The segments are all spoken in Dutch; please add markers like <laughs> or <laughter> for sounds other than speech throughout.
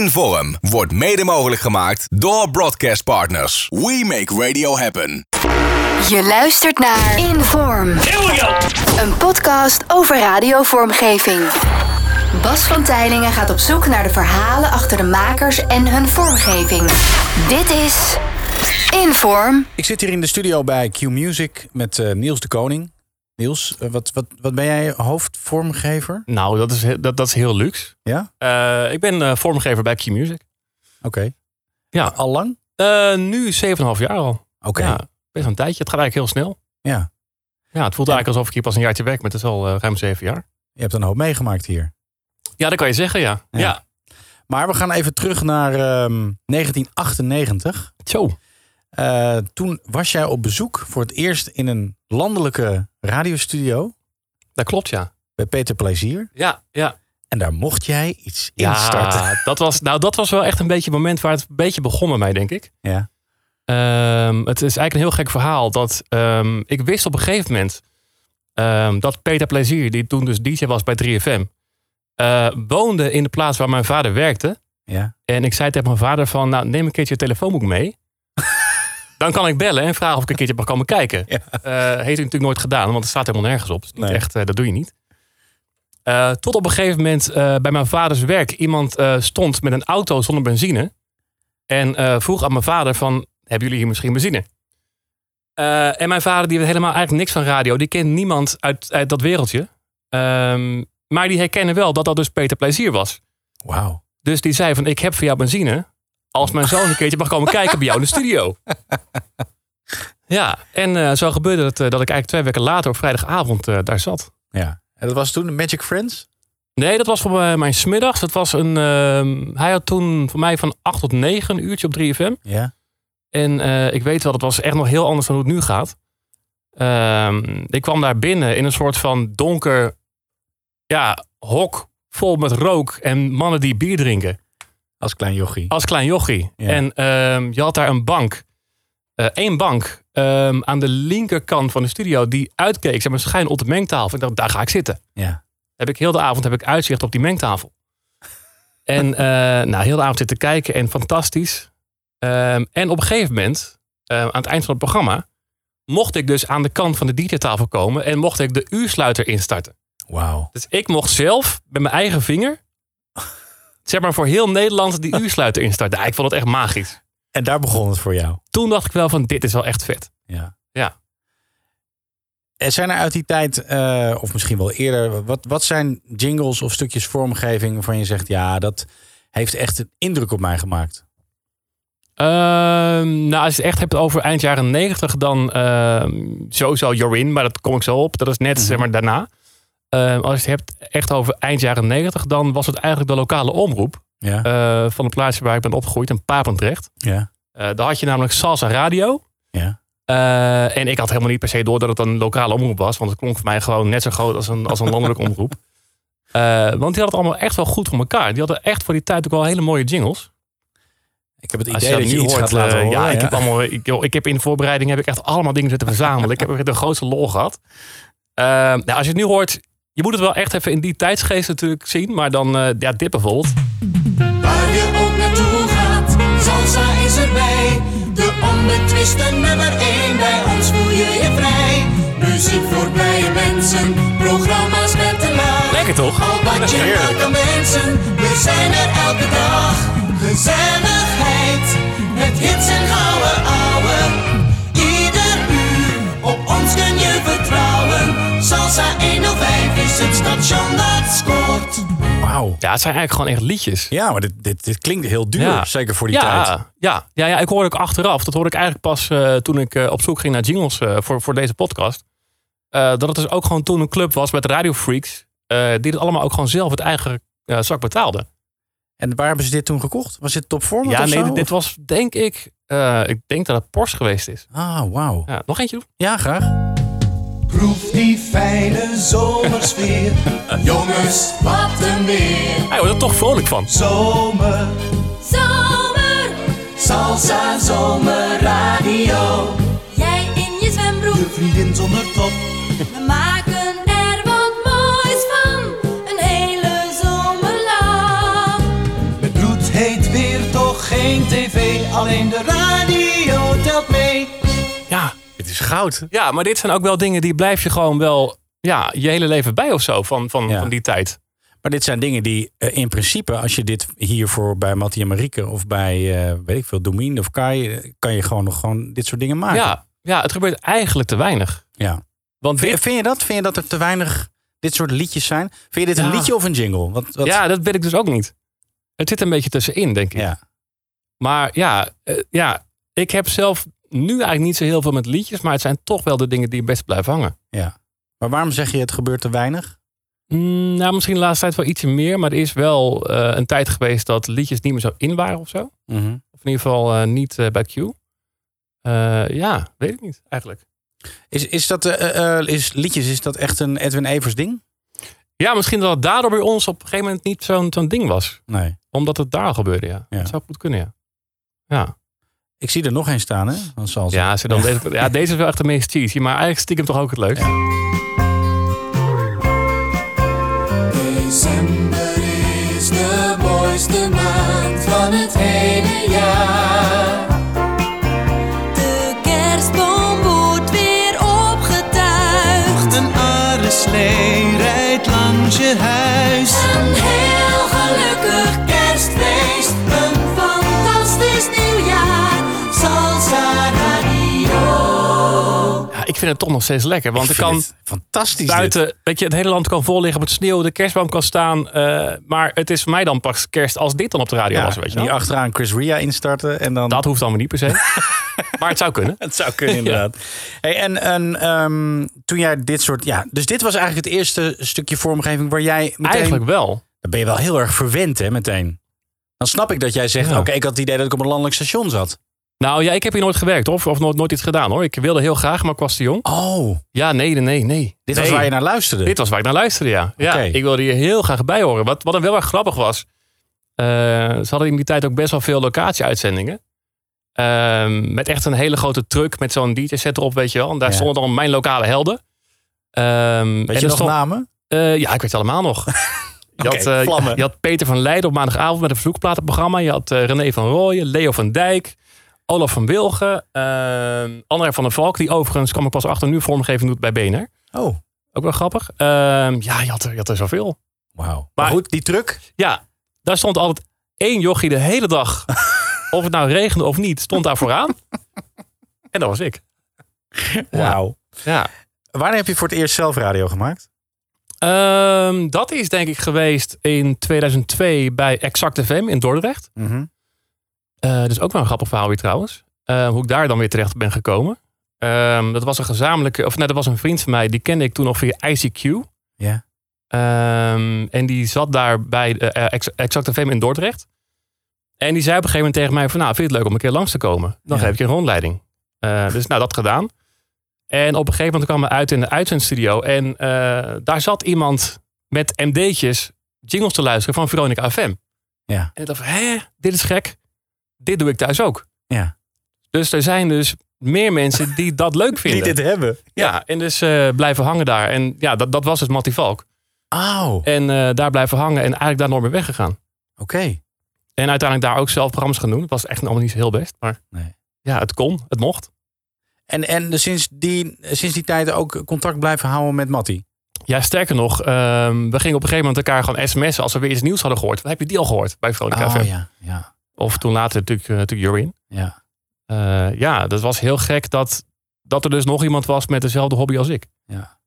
Inform wordt mede mogelijk gemaakt door broadcastpartners. We make radio happen. Je luistert naar Inform. Een podcast over radiovormgeving. Bas van Tijlingen gaat op zoek naar de verhalen achter de makers en hun vormgeving. Dit is Inform. Ik zit hier in de studio bij Q Music met eh, Niels de Koning. Niels, eh, wat, wat, wat ben jij hoofdvormgever? Nou, dat is, he- dat, dat is heel luxe. Ja? Eh, ik ben eh, vormgever bij Key Music. Oké. Ja. Al lang? Eh, nu 7,5 jaar al. Oké. Ja, best wel een tijdje. Het gaat eigenlijk heel snel. Ja. Ja, het voelt eigenlijk alsof ik hier pas een jaartje werk, maar het is al eh, ruim zeven jaar. Je hebt een hoop meegemaakt hier. Ja, dat kan je zeggen, ja. Ja. Ja, Maar we gaan even terug naar ehm, 1998. zo. Eh, toen was jij op bezoek voor het eerst in een landelijke radiostudio Dat klopt, ja. bij Peter Plezier. Ja, ja. En daar mocht jij iets instarten. ja <laughs> dat, was, nou, dat was wel echt een beetje het moment waar het een beetje begon bij mij, denk ik. Ja. Ehm, het is eigenlijk een heel gek verhaal. Dat, ehm, ik wist op een gegeven moment ehm, dat Peter Plezier, die toen dus DJ was bij 3FM, eh, woonde in de plaats waar mijn vader werkte. Ja. En ik zei tegen mijn vader van, nou neem een keertje je telefoonboek <laughs> mee. Dan kan ik bellen en vragen of ik een keertje mag komen kijken. Ja. Eh heeft hij natuurlijk nooit gedaan, want het staat helemaal nergens op. Het is niet Nee. echt, eh, dat doe je niet. Eh, tot op een gegeven moment eh, bij mijn vaders werk iemand eh, stond met een auto zonder benzine. En eh, vroeg aan mijn vader van, hebben jullie hier misschien benzine? Eh, en mijn vader die weet helemaal eigenlijk niks van radio. Die kent niemand uit, uit dat wereldje. Ehm, maar die herkennen wel dat dat dus Peter Plezier was. Wauw. Dus die zei van, ik heb voor jou benzine. Als mijn zoon een keertje mag komen kijken bij jou in de studio. Ja, en eh, zo gebeurde het eh, dat ik eigenlijk twee weken later op vrijdagavond eh, daar zat. Ja. En dat was toen Magic Friends? Nee, dat was voor mij- mijn smiddags. Dat was een, ehm, hij had toen voor mij van 8 tot 9 een uurtje op 3FM. Ja. En eh, ik weet wel, dat was echt nog heel anders dan hoe het nu gaat. Ehm, ik kwam daar binnen in een soort van donker ja, hok vol met rook en mannen die bier drinken. Als klein jochie. Als klein jochie. Ja. En ehm, je had daar een bank. Eh, Eén bank ehm, aan de linkerkant van de studio die uitkeek, zeg maar, schijn op de mengtafel. Ik dacht, daar ga ik zitten. Ja. Heb ik heel de avond heb ik uitzicht op die mengtafel. en eh, nou, heel de avond zitten kijken en fantastisch. Ehm, en op een gegeven moment, eh, aan het eind van het programma, mocht ik dus aan de kant van de DJ-tafel komen en mocht ik de uursluiter instarten. Wauw. Dus ik mocht zelf met mijn eigen vinger. Zeg maar voor heel Nederland die uursluiter instarten. Ja, ik vond het echt magisch. En daar begon het voor jou. Toen dacht ik wel van dit is wel echt vet. Ja. Ja. En zijn er uit die tijd, eh, of misschien wel eerder, wat, wat zijn jingles of stukjes vormgeving waarvan je zegt, ja, dat heeft echt een indruk op mij gemaakt? Ehm, nou, als je het echt hebt over eind jaren 90, dan ehm, sowieso Jorin, maar dat kom ik zo op. Dat is net zeg maar daarna. Ehm, als je het hebt echt over eind jaren 90, dan was het eigenlijk de lokale omroep Ja. eh, van het plaatsje waar ik ben opgegroeid, in Papendrecht. ja. Eh, daar had je namelijk Salsa Radio. Ja. Eh, en ik had helemaal niet per se door dat het een lokale omroep was. Want het klonk voor mij gewoon net zo groot als een, als een <laughs> landelijke omroep. Eh, want die hadden het allemaal echt wel goed voor elkaar. Die hadden echt voor die tijd ook wel hele mooie jingles. Ik heb het Als idee dat, dat je nu iets hoort, gaat laten eh, horen. ja, Ik, heb allemaal, ik, joh, ik heb in de voorbereiding heb ik echt allemaal dingen zitten verzamelen. ik heb echt de grootste lol gehad. Eh, nou, als je het nu hoort, je moet het wel echt even in die tijdsgeest natuurlijk zien. Maar dan, eh, ja, dit bijvoorbeeld. Waar je ook naartoe gaat, Salsa is erbij. De onbetwiste nummer 1, bij ons voel je je vrij. Muziek voor blije mensen, programma's met de laag. Lekker toch? Al wat je Heerlijk. maar kan wensen, we zijn er elke dag. Gezelligheid, met hits en gouden ouwe. Ieder uur, op ons kun je vertrouwen. Salsa 105 is het station dat scoort. Wauw. Ja, het zijn eigenlijk gewoon echt liedjes. Ja, maar dit, dit, dit klinkt heel duur, Ja. zeker voor die ja, tijd. Ja, ja, ja, ik hoorde ook achteraf. Dat hoorde ik eigenlijk pas eh, toen ik eh, op zoek ging naar jingles eh, voor, voor deze podcast. eh, dat het dus ook gewoon toen een club was met radiofreaks. eh, die het allemaal ook gewoon zelf het eigen eh, zak betaalden. En waar hebben ze dit toen gekocht? Was dit topvorm? ja, of nee, zo? dit, dit was denk ik. eh, ik denk dat het Porsche geweest is. Ah, wauw. Ja, nog eentje doen? Ja, graag. Proef die fijne zomersfeer. <laughs> Jongens, wat een weer. Hij wordt er toch vrolijk van. Zomer. Zomer. Salsa zomerradio. Jij in je zwembroek, De vriendin zonder top. we maken er wat moois van. Een hele zomer lang. Met bloed heet weer toch geen tv, alleen de radio telt mee. Ja, Het is goud. ja, maar dit zijn ook wel dingen die blijf je gewoon wel ja, je hele leven bij of zo van, van, Ja. van die tijd. Maar dit zijn dingen die eh, in principe, als je dit hiervoor bij Mattie en Marieke of bij, eh, weet ik veel, Domien of Kai, eh, kan je gewoon nog gewoon dit soort dingen maken. Ja, ja, het gebeurt eigenlijk te weinig. ja. Want Vind, dit, vind je dat? Vind je dat er te weinig dit soort liedjes zijn? Vind je dit Ja. een liedje of een jingle? Wat, wat, Ja, dat weet ik dus ook niet. Het zit een beetje tussenin, denk ik. ja. Maar ja, eh, ja, ik heb zelf nu eigenlijk niet zo heel veel met liedjes, maar het zijn toch wel de dingen die het best blijven hangen. ja. Maar waarom zeg je het gebeurt te weinig? Mm, nou, misschien de laatste tijd wel ietsje meer, maar er is wel eh, een tijd geweest dat liedjes niet meer zo in waren of zo. Of in ieder geval eh, niet eh, bij Q. Eh, ja, weet ik niet eigenlijk. Is, is dat, eh, eh, is, liedjes, is dat echt een Edwin Evers ding? Ja, misschien dat het daardoor bij ons op een gegeven moment niet zo'n zo'n ding was. Nee. Omdat het daar al gebeurde, ja. Ja. Dat zou goed kunnen, ja. Ja, Ik zie er nog één staan, hè? Van Salsa. ja, als <laughs> je dan Deze, ja deze is wel echt de meest cheesy, maar eigenlijk stiekem toch ook het leukst. December is de mooiste maand van het hele jaar. De kerstboom wordt weer opgetuigd. Een arreslee rijdt langs je huis. Een heel gelukkig kerstfeest. Een fantastisch nieuwjaar. Salsa Radio. Ja, ik vind het toch nog steeds lekker, want er Ik vind kan het fantastisch. dit. buiten, weet je, het hele land kan vol liggen op het sneeuw, de kerstboom kan staan, eh, maar het is voor mij dan pas kerst als dit dan op de radio Ja, was, weet je wel. die achteraan Chris Ria instarten en dan. Dat hoeft allemaal niet per <laughs> se, maar het zou kunnen. Het zou <laughs> kunnen, inderdaad. Hey, en en ehm, toen jij dit soort. Ja, dus dit was eigenlijk het eerste stukje vormgeving waar jij meteen. Eigenlijk wel. Dan ben je wel heel erg verwend, hè, meteen. Dan snap ik dat jij zegt: Ja. oké, ik had het idee dat ik op een landelijk station zat. Nou ja, ik heb hier nooit gewerkt of, of nooit, nooit iets gedaan hoor. Ik wilde heel graag, maar ik was te jong. Oh, Ja, nee, nee, nee. nee. dit was Nee. waar je naar luisterde. Dit was waar ik naar luisterde, ja. ja Oké. ik wilde hier heel graag bij horen. Wat, wat dan wel erg grappig was. eh, ze hadden in die tijd ook best wel veel locatie-uitzendingen. Ehm, met echt een hele grote truck met zo'n DJ-set erop, weet je wel. En daar Ja. stonden dan mijn lokale helden. Ehm, en Weet er je nog stond- namen? eh, ja, ik weet het allemaal <laughs> nog. Je, Oké, had, eh, vlammen. je had Peter van Leijden op maandagavond met een vloekplatenprogramma. Je had eh, René van Rooyen, Leo van Dijk, Olaf van Wilgen, eh, André van der Valk. Die overigens, kwam ik pas achter, nu vormgeving doet bij BNR. Oh, Ook wel grappig. Ehm, ja, je had, er, je had er zoveel. wauw. Maar, Maar- goed, die truck. Ja, daar stond altijd één jochie de hele dag. of het nou regende of niet, stond daar vooraan. en dat was ik. Wauw. Ja. Wanneer heb je voor het eerst zelf radio gemaakt? Ehm, dat is denk ik geweest in 2002 bij Exact FM in Dordrecht. Mhm. Eh, dus ook wel een grappig verhaal weer trouwens. Eh, hoe ik daar dan weer terecht ben gekomen. Ehm, dat was een gezamenlijke, of nee, dat was een vriend van mij, die kende ik toen nog via ICQ. Ja. Ehm, en die zat daar bij eh, Ex- Exact FM in Dordrecht. En die zei op een gegeven moment tegen mij van, nou, vind je het leuk om een keer langs te komen? Dan Ja. geef ik je een rondleiding. Eh, dus nou, dat gedaan. En op een gegeven moment kwam we uit in de uitzendstudio. En eh, daar zat iemand met MD'tjes jingles te luisteren van Veronica FM. Ja. En ik dacht, van, hè, dit is gek. Dit doe ik thuis ook. Ja. Dus er zijn dus meer mensen die dat <laughs> leuk Die vinden. dit hebben. ja. en dus eh, blijven hangen daar. En ja, dat, dat was dus Mattie Valk. Oh, oké. En eh, daar blijven hangen en eigenlijk daar nooit meer weggegaan. En uiteindelijk daar ook zelf programma's gaan doen. Het was echt allemaal niet zo heel best, maar Nee. ja, het kon, het mocht. En, en sinds, die, sinds die tijd ook contact blijven houden met Mattie. Ja, sterker nog, ehm, we gingen op een gegeven moment elkaar gewoon sms'en als we weer iets nieuws hadden gehoord. Heb je die al gehoord bij Veronica FM? Ah, Oh, ja, ja, Of toen later natuurlijk, eh, natuurlijk Jorin. ja. Eh, ja, dat was heel gek dat, dat er dus nog iemand was met dezelfde hobby als ik. Ja.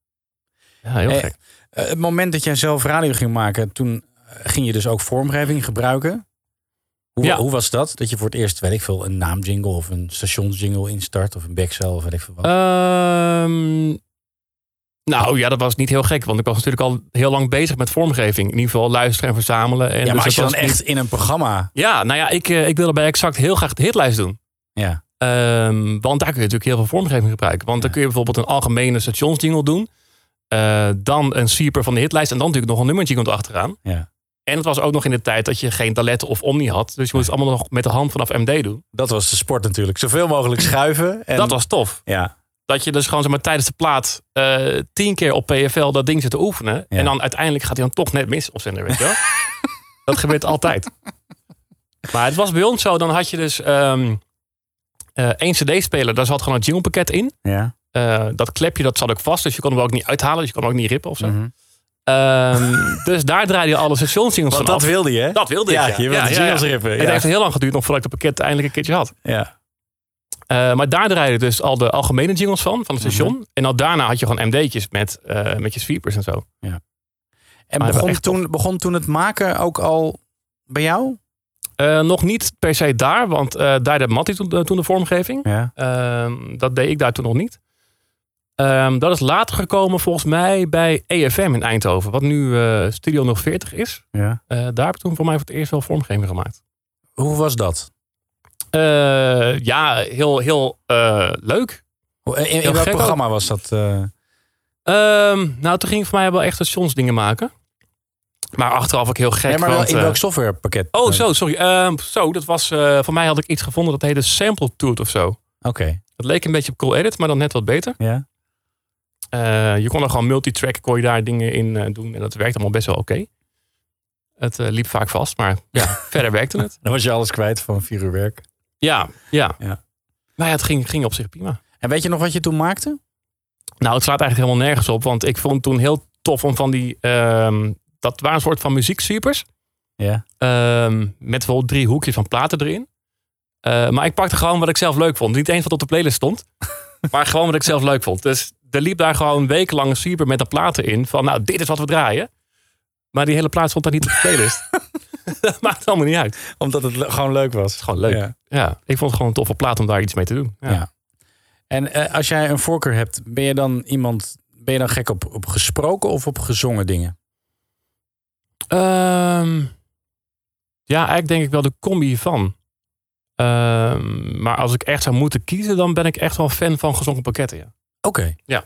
Ja, heel Eh, gek. Eh, het moment dat jij zelf radio ging maken, toen eh, ging je dus ook vormgeving gebruiken. Hoe, Ja. hoe was dat? Dat je voor het eerst, weet ik veel, een naamjingle of een stationsjingle instart of een backcell of weet ik veel Eh, wat. Ehm, nou ja, dat was niet heel gek, want ik was natuurlijk al heel lang bezig met vormgeving. In ieder geval luisteren en verzamelen. En ja, maar dus als je dat dan was niet- echt in een programma... Ja, nou ja, ik, eh, ik wilde bij Exact heel graag de hitlijst doen. Ja. Ehm, want daar kun je natuurlijk heel veel vormgeving gebruiken. Want dan kun je bijvoorbeeld een algemene stationsjingle doen. eh, dan een sweeper van de hitlijst. En dan natuurlijk nog een nummerjingle achteraan. Ja. En het was ook nog in de tijd dat je geen Dalet of Omni had. Dus je moest het allemaal nog met de hand vanaf MD doen. Dat was de sport natuurlijk. Zoveel <laughs> mogelijk schuiven. En, dat was tof. Ja, Dat je dus gewoon zeg maar, tijdens de plaat eh, tien keer op PFL dat ding zit te oefenen. <laughs> Ja. En dan uiteindelijk gaat hij dan toch net mis op zender, weet je wel? dat gebeurt altijd. Maar het was bij ons zo, dan had je dus ehm, eh, één cd-speler. Daar zat gewoon een jinglepakket in. Ja. Eh, dat klepje dat zat ook vast, dus je kon hem ook niet uithalen. Dus je kon hem ook niet rippen of zo. Mhm. Ehm, <laughs> dus daar draaide je alle stationsingels van Want dat af. wilde je, hè? Dat wilde ik, ja. Ja, je wilde Ja, de ja, jingles ja. rippen. Het ja. heeft heel lang geduurd nog voordat ik het pakket eindelijk een keertje had. Ja. Eh, maar daar draaiden dus al de algemene jingles van, van het Mhm. station. En al daarna had je gewoon MD'tjes met, eh, met je sweepers en zo. En Maar begon echt toen, begon toen het maken ook al bij jou? Eh, nog niet per se daar, want eh, daar deed Matty toen, toen de vormgeving. Ja. Ehm, dat deed ik daar toen nog niet. Ehm, dat is later gekomen volgens mij bij EFM in Eindhoven. Wat nu eh, Studio 040 is. ja. Eh, daar heb ik toen voor mij voor het eerst wel vormgeving gemaakt. Hoe was dat? Eh, ja, heel, heel eh, leuk. Hoe- In, in Heel welk gek programma was dat? eh? Ehm, nou, toen ging ik voor mij wel echt stationsdingen maken. Maar achteraf ook heel gek. nee, maar wel want, in eh, welk softwarepakket? Oh, Eh, zo, sorry. Ehm, zo, dat was... eh, voor mij had ik iets gevonden dat heette Sample Toot of zo. Oké, Dat leek een beetje op Cool Edit, maar dan net wat beter. ja. Eh, je kon er gewoon multitrack, kon je daar dingen in eh, doen. En dat werkte allemaal best wel oké. Het eh, liep vaak vast, maar ja, verder werkte het. Dan was je alles kwijt van vier uur werk. Ja, ja. Ja. Maar ja, het ging, ging op zich prima. En weet je nog wat je toen maakte? Nou, het slaat eigenlijk helemaal nergens op. Want ik vond het toen heel tof om van die... ehm, dat waren een soort van muzieksweepers. Ja. Ehm, met bijvoorbeeld drie hoekjes van platen erin. Eh, maar ik pakte gewoon wat ik zelf leuk vond. Niet eens wat op de playlist stond. maar gewoon wat ik zelf leuk vond. Dus er liep daar gewoon wekenlang een sweeper met de platen in. Van nou, dit is wat we draaien. Maar die hele plaat stond daar niet op de playlist. dat maakt allemaal niet uit. Het Omdat het le- gewoon leuk was. is gewoon leuk. Ja. Ja. ik vond het gewoon een toffe plaat om daar iets mee te doen. Ja. Ja. En eh, als jij een voorkeur hebt, ben je dan iemand, ben je dan gek op, op gesproken of op gezongen dingen? Ehm, ja, eigenlijk denk ik wel de combi van. Ehm, maar als ik echt zou moeten kiezen, dan ben ik echt wel fan van gezongen pakketten. Ja. Oké. Ja.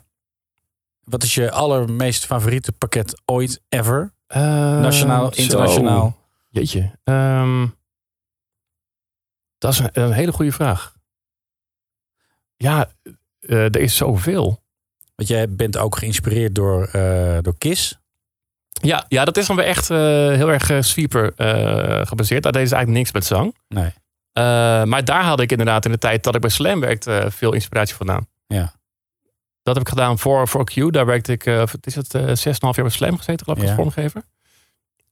Wat is je allermeest favoriete pakket ooit, ever? Ehm, Nationaal, zo. internationaal? Jeetje. Ehm, dat is een, een hele goede vraag. Ja, eh, er is zoveel. Want jij bent ook geïnspireerd door, eh door KISS. Ja, ja, dat is dan weer echt eh, heel erg eh, sweeper eh, gebaseerd. Daar deden ze eigenlijk niks met zang. Nee. Eh, maar daar had ik inderdaad in de tijd dat ik bij Slam werkte eh, veel inspiratie vandaan. Ja. Dat heb ik gedaan voor, voor Q. Daar werkte ik, eh, wat is het, eh, 6,5 jaar bij Slam gezeten, geloof ik, als Ja. vormgever.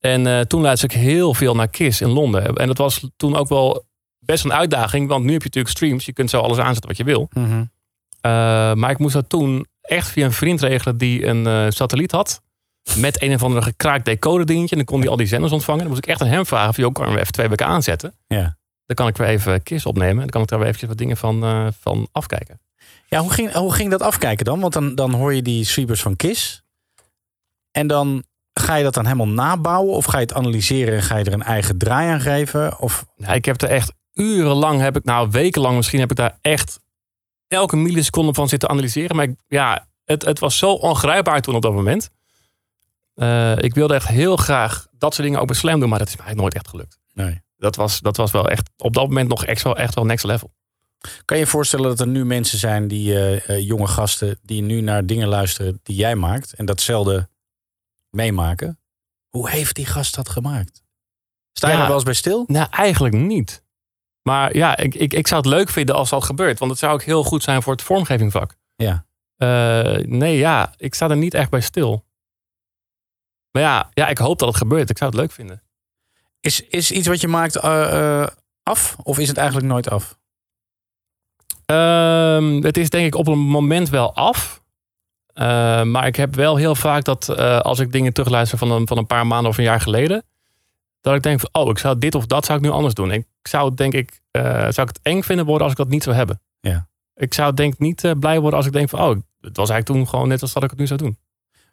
En eh, toen luisterde ik heel veel naar KISS in Londen. En dat was toen ook wel best een uitdaging. Want nu heb je natuurlijk streams. Je kunt zo alles aanzetten wat je wil. Mhm. Eh, maar ik moest dat toen echt via een vriend regelen die een eh, satelliet had. Met een of andere gekraakt decoderdingetje. En dan kon hij al die zenders ontvangen. Dan moest ik echt aan hem vragen. Of, joh, kan je hem even twee weken aanzetten? Ja. Dan kan ik weer even KISS opnemen. Dan kan ik daar weer eventjes wat dingen van, eh, van afkijken. Ja, hoe ging, hoe ging dat afkijken dan? Want dan, dan hoor je die sweepers van KISS. En dan ga je dat dan helemaal nabouwen? Of ga je het analyseren en ga je er een eigen draai aan geven? Of, Nou, ik heb er echt urenlang, heb ik, nou wekenlang misschien, heb ik daar echt elke milliseconde van zitten analyseren. Maar ik, ja, het, het was zo ongrijpbaar toen op dat moment. Eh, ik wilde echt heel graag dat soort dingen ook bij Slam doen, maar dat is mij nooit echt gelukt. nee. Dat was, dat was wel echt op dat moment nog echt wel, echt wel next level. Kan je je voorstellen dat er nu mensen zijn, die eh, eh, jonge gasten, die nu naar dingen luisteren die jij maakt en datzelfde meemaken? Hoe heeft die gast dat gemaakt? Sta je Ja. er wel eens bij stil? Nou, eigenlijk niet. Maar ja, ik, ik, ik zou het leuk vinden als dat gebeurt. Want het zou ook heel goed zijn voor het vormgevingvak. Ja. Eh, nee, ja, ik sta er niet echt bij stil. Maar ja, ja, ik hoop dat het gebeurt. Ik zou het leuk vinden. Is, is iets wat je maakt eh, eh, af of is het eigenlijk nooit af? Ehm, het is denk ik op een moment wel af. Ehm, maar ik heb wel heel vaak dat eh, als ik dingen terugluister van een, van een paar maanden of een jaar geleden. Dat ik denk van, oh, ik zou dit of dat zou ik nu anders doen. Ik zou het denk ik, eh, zou ik het eng vinden worden als ik dat niet zou hebben. Ja. Ik zou denk ik niet eh, blij worden als ik denk van, oh, het was eigenlijk toen gewoon net als dat ik het nu zou doen.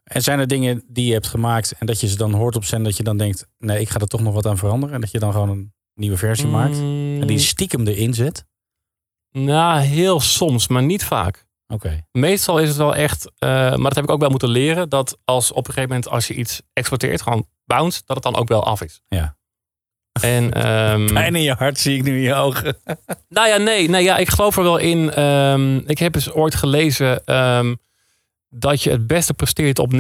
En zijn er dingen die je hebt gemaakt en dat je ze dan hoort op zender, dat je dan denkt, nee, ik ga er toch nog wat aan veranderen. En dat je dan gewoon een nieuwe versie maakt. Mm, En die stiekem erin zet. Nou, heel soms, maar niet vaak. Oké. meestal is het wel echt, eh, maar dat heb ik ook wel moeten leren, dat als op een gegeven moment als je iets exporteert, gewoon bounce, dat het dan ook wel af is. Ja. <laughs> En, ehm, in je hart zie ik nu in je ogen. nou ja, nee, nee ja, ik geloof er wel in. Ehm, ik heb eens ooit gelezen ehm, dat je het beste presteert op 90%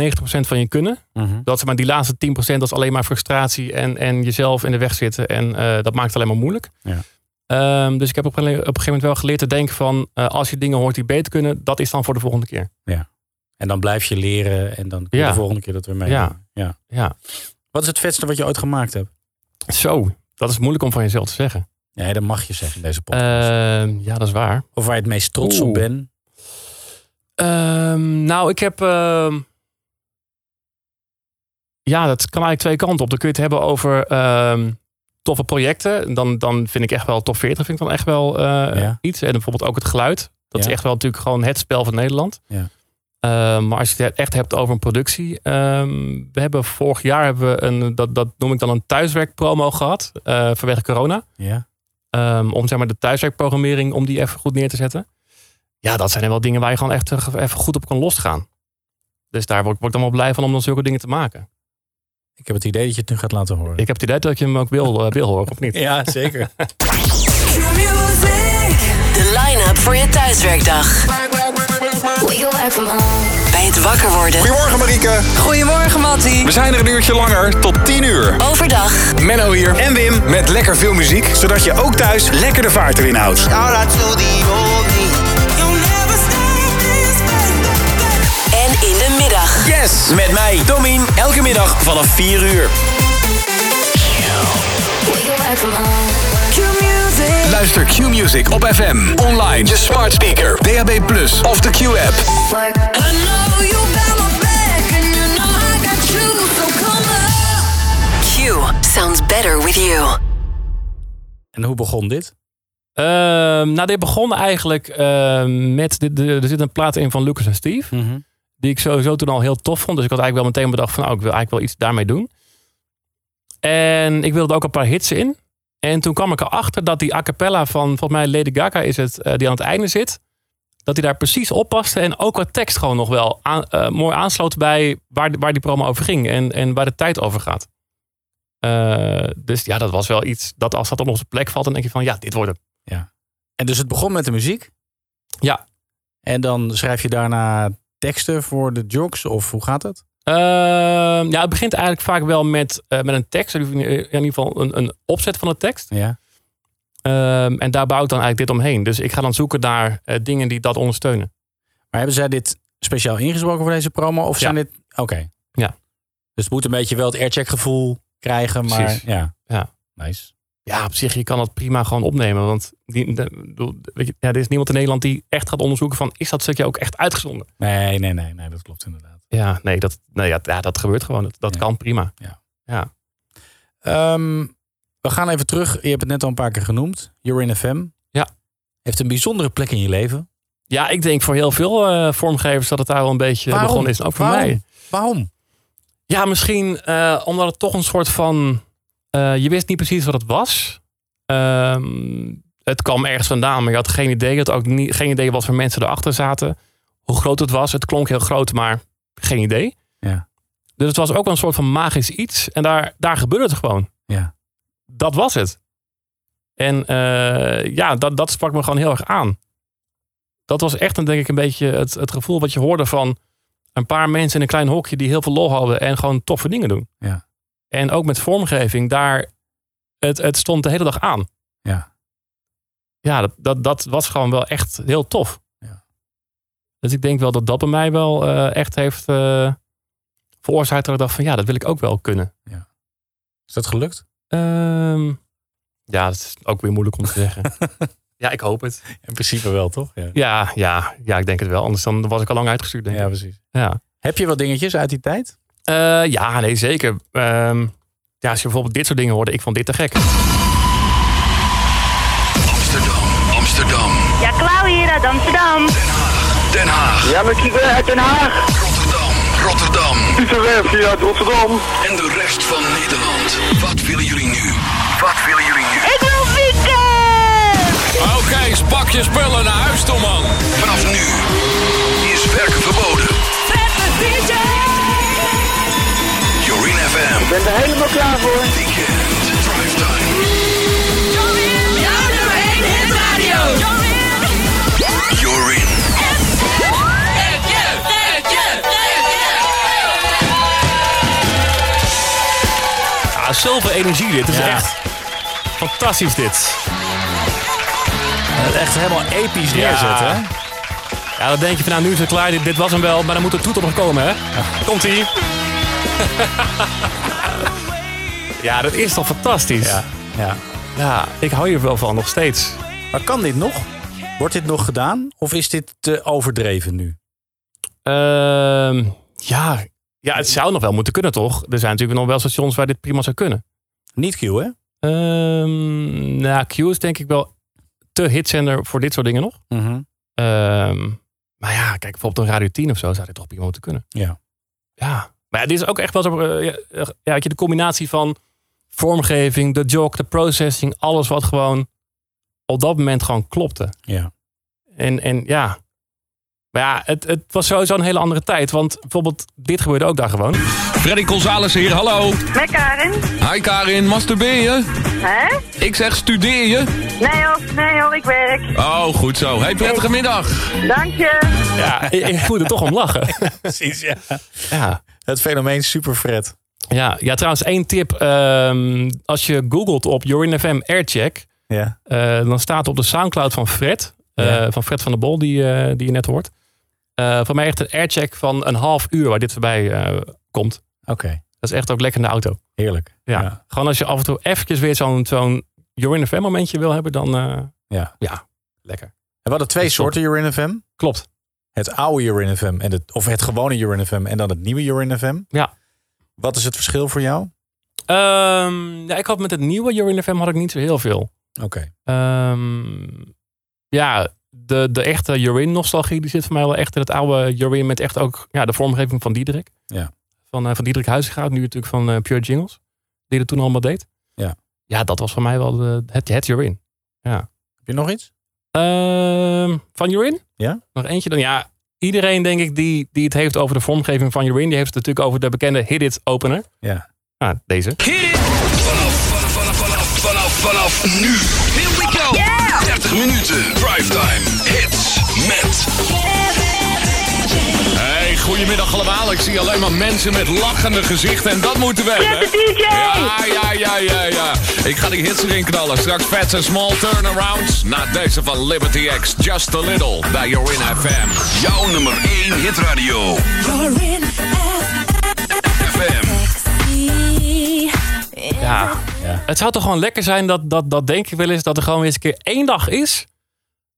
van je kunnen. Mhm. Dat ze maar die laatste 10% dat is alleen maar frustratie en, en jezelf in de weg zitten. En eh, dat maakt het alleen maar moeilijk. Ja. Ehm, dus ik heb op een, op een gegeven moment wel geleerd te denken van eh, als je dingen hoort die beter kunnen, dat is dan voor de volgende keer. En dan blijf je leren en dan kun je Ja. de volgende keer dat weer mee. Ja. doen. ja. Ja. Wat is het vetste wat je ooit gemaakt hebt? Zo, dat is moeilijk om van jezelf te zeggen. Nee, dat mag je zeggen in deze podcast. Ehm, ja, dat is waar. of waar je het meest trots op Oeh. bent. Ehm, nou, ik heb. ehm, ja, dat kan eigenlijk twee kanten op. Dan kun je het hebben over ehm, toffe projecten. Dan, dan vind ik echt wel top 40 vind ik dan echt wel eh, Ja. iets. En bijvoorbeeld ook het geluid. Dat is Ja. echt wel natuurlijk gewoon het spel van Nederland. Ja. Ehm, maar als je het echt hebt over een productie. ehm, we hebben vorig jaar hebben we een, dat, dat noem ik dan een thuiswerkpromo gehad. eh, vanwege corona. Ja. Ehm, om zeg maar de thuiswerkprogrammering om die even goed neer te zetten. Ja, dat zijn er wel dingen waar je gewoon echt eh, even goed op kan losgaan. Dus daar word, word ik dan wel blij van om dan zulke dingen te maken. Ik heb het idee dat je het nu gaat laten horen. Ik heb het idee dat je hem ook wil, eh, wil horen, of niet? Ja, zeker. De line-up voor je thuiswerkdag. Wiggle even on. Bij het wakker worden. Goedemorgen Marieke. Goedemorgen, Mattie. We zijn er een uurtje langer, tot 10 uur. Overdag. Menno hier. En Wim. Met lekker veel muziek, zodat je ook thuis lekker de vaart erin houdt. Shout out to the old me. You'll never stay this way. En in de middag. Yes! Met mij, Domin, elke middag vanaf 4 uur. Wiggle even on. Luister Q-Music op FM, online, je smart speaker, DAB+, of de Q-app. Like I know you got my back and you know I got you, so come on. Q sounds better with you. <laughs> En hoe begon dit? Ehm nou, dit begon eigenlijk ehm, met... Dit, de- er zit een plaat in van Lucas en Steve. Mhm. Die ik sowieso toen al heel tof vond. Dus ik had eigenlijk wel meteen bedacht van... Oh, ik wil eigenlijk wel iets daarmee doen. En ik wilde ook een paar hits in. En toen kwam ik erachter dat die a cappella van... Volgens mij Lady Gaga is het, eh, die aan het einde zit. Dat die daar precies op paste. En ook qua tekst gewoon nog wel aan- eh, mooi aansloot bij... Waar, waar die promo over ging. En, en waar de tijd over gaat. Eh, dus ja, dat was wel iets... Dat als dat op onze plek valt, dan denk je van... Ja, dit wordt het. En dus het begon met de muziek? Ja. En dan schrijf je daarna teksten voor de jocks of hoe gaat het? Ehm, ja, het begint eigenlijk vaak wel met, eh, met een tekst. In ieder geval een, een opzet van de tekst. Ja. Ehm, en daar bouw ik dan eigenlijk dit omheen. Dus ik ga dan zoeken naar eh, dingen die dat ondersteunen. Maar hebben zij dit speciaal ingesproken voor deze promo? Of zijn dit... Oké. Ja. Dus het moet een beetje wel het aircheck gevoel krijgen, maar... Precies. Ja. Ja. Nice. Ja, op zich, je kan dat prima gewoon opnemen. Want die, de- bedoel, weet je, ja, er is niemand in Nederland die echt gaat onderzoeken van... is dat stukje ook echt uitgezonden? Nee, nee, nee, nee, dat klopt inderdaad. Ja, nee, dat, nee, ja, ja, dat gebeurt gewoon. Dat, dat Ja. kan prima. Ehm, we gaan even terug. Je hebt het net al een paar keer genoemd. You're in FM. Ja. Heeft een bijzondere plek in je leven. Ja, ik denk voor heel veel eh, vormgevers dat het daar wel een beetje Waarom? begonnen is. En Ook voor Waarom? mij. Waarom? Ja, misschien eh, omdat het toch een soort van. eh, je wist niet precies wat het was. Ehm, het kwam ergens vandaan, maar je had geen idee. Je had ook niet, geen idee wat voor mensen erachter zaten. Hoe groot het was. Het klonk heel groot, maar geen idee. Ja. Dus het was ook wel een soort van magisch iets. En daar, daar gebeurde het gewoon. Ja. Dat was het. En eh, ja, dat, dat sprak me gewoon heel erg aan. Dat was echt, dan denk ik, een beetje het, het gevoel wat je hoorde van een paar mensen in een klein hokje die heel veel lol hadden en gewoon toffe dingen doen. Ja. En ook met vormgeving, daar, het, het stond de hele dag aan. Ja. Ja, dat, dat, dat was gewoon wel echt heel tof. Ja. Dus ik denk wel dat dat bij mij wel eh, echt heeft eh, veroorzaakt dat ik dacht van ja, dat wil ik ook wel kunnen. Is dat gelukt? Ehm, ja, dat is ook weer moeilijk om te <laughs> zeggen. ja, ik hoop het. In principe wel, toch? Ja, Ja, ja, ja, ik denk het wel. Anders dan was ik al lang uitgestuurd, denk ik. ja precies. Ja. Heb je wat dingetjes uit die tijd? Eh, ja, nee, zeker. Ehm, ja, als je bijvoorbeeld dit soort dingen hoorde, ik vond dit te gek. Amsterdam, Amsterdam, Ja, Klauw hier uit Amsterdam. Den Haag. Ja, maar ik ben uit Den Haag. Rotterdam, Rotterdam. Utrecht, uit Rotterdam. En de rest van Nederland. Wat willen jullie nu? Wat willen jullie nu? Ik wil fietsen! Oké, pak je spullen naar huis toe, man. Vanaf nu is werken verboden. Jorin FM. Ik ben er helemaal klaar voor. Weekend. Drive time. Jorin. Thank you, thank you. Ja, Ah, zoveel energie dit. Het is echt fantastisch dit. Het echt helemaal episch neerzetten. Ja. hè? Ja, dan denk je van nou, nu is het klaar. Dit, dit was hem wel, maar dan moet de toeter nog komen, hè? Komt-ie. ja, dat is toch fantastisch. Ja. ja. Ja, ik hou hier wel van, nog steeds. Maar kan dit nog? Wordt dit nog gedaan? Of is dit te overdreven nu? Ehm, ja. ja, het zou nog wel moeten kunnen, toch? Er zijn natuurlijk nog wel stations waar dit prima zou kunnen. Niet Q, hè? Ehm nou, Q is denk ik wel te hitzender voor dit soort dingen nog. Mhm. Ehm, maar ja, kijk, bijvoorbeeld een Radio 10 of zo zou dit toch prima moeten kunnen. Ja. Ja. Maar ja, dit is ook echt wel zo... eh, ja, eh, ja, weet je, de combinatie van vormgeving, de jog, de processing, alles wat gewoon op dat moment gewoon klopte. Ja. En, en ja... Maar ja, het, het was sowieso een hele andere tijd. Want bijvoorbeeld, dit gebeurde ook daar gewoon. Freddy Gonzales hier, hallo. Met Karin. Hi Karin, masturbeer je? Hè? Ik zeg studeer je? Nee hoor, nee hoor, ik werk. Oh, goed zo. Hey, prettige middag. Dank je. Ja, ik, ik moet er toch om lachen. <laughs> Precies, <laughs> ja. Ja. Het fenomeen superfred. Ja, ja, trouwens, één tip. Ehm, als je googelt op Jorin FM Aircheck, Ja. eh, dan staat op de Soundcloud van Fred, eh, Ja. van Fred van de Bol, die, eh, die je net hoort. Eh van mij echt een aircheck van een half uur waar dit voorbij eh, komt. Oké, Dat is echt ook lekker in de auto. heerlijk. Ja. ja. Gewoon als je af en toe eventjes weer zo'n zo'n Jorin FM momentje wil hebben, dan eh, Ja. ja, lekker. We hadden twee Dat klopt. soorten Urine FM. Klopt. Het oude Urine FM, en het, of het gewone Urine FM en dan het nieuwe Urine FM. Ja. Wat is het verschil voor jou? Ehm, ja, ik had met het nieuwe Jorin FM had ik niet zo heel veel. Oké. Ehm, ja, de, de echte Jorin-nostalgie die zit voor mij wel echt in het oude Jorin met echt ook ja, de vormgeving van Diederik. Ja. Van, eh, van Diederik Huizinga, nu natuurlijk van eh, Pure Jingles, die dat toen allemaal deed. Ja. ja, dat was voor mij wel de- het, het Jorin. Heb je nog iets? Ehm, van Jorin? Ja. Nog eentje dan. Ja, iedereen denk ik die, die het heeft over de vormgeving van Jorin, die heeft het natuurlijk over de bekende Hit It opener. Ja. Ah, deze. Vanaf, vanaf, vanaf nu. Here we go. 30 minuten primetime hits met Hey, goedemiddag allemaal. Ik zie alleen maar mensen met lachende gezichten en dat moeten we hebben. Zet de DJ. Ja, ja, ja, ja, ja. Ik ga die hits erin knallen. Straks vets en small turnarounds. Na deze van Liberty X, Just a Little, bij Jorin FM. jouw nummer 1 hitradio. FM. Ja. Het zou toch gewoon lekker zijn dat, dat, dat denk ik wel eens, dat er gewoon weer eens een keer één dag is.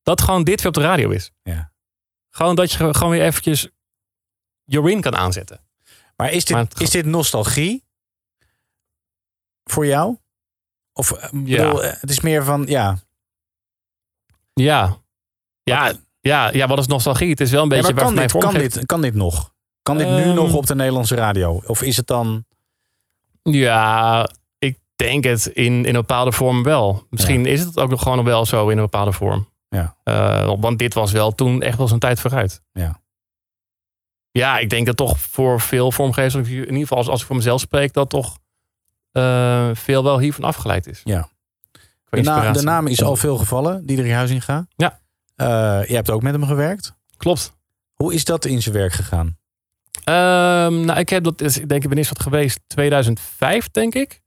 Dat gewoon dit weer op de radio is. Ja. Gewoon dat je ge- gewoon weer eventjes Jorin kan aanzetten. Maar is dit, Maar het- is dit nostalgie voor jou? Of eh, bedoel, eh, het is meer van, ja. Ja. Ja, ja, ja wat is nostalgie? Het is wel een beetje Ja, maar waar kan, mijn dit, kan, vormgever- dit, kan dit nog? Kan dit nu Ehm. nog op de Nederlandse radio? Of is het dan... Ja, ik denk het in, in een bepaalde vorm wel. Misschien is het ook nog gewoon wel zo in een bepaalde vorm. Ja. Eh, want dit was wel toen echt wel zijn tijd vooruit. Ja. Ja, ik denk dat toch voor veel vormgevers, in ieder geval als, als ik voor mezelf spreek, dat toch eh, veel wel hiervan afgeleid is. Ja. Qua De, na- de inspiratie. naam is al veel gevallen, Diederik Huizinga. Ja. Eh, je hebt ook met hem gewerkt. Klopt. Hoe is dat in zijn werk gegaan? Ehm, nou, ik heb dat, is- ik denk ik ben eerst wat geweest, 2005 denk ik.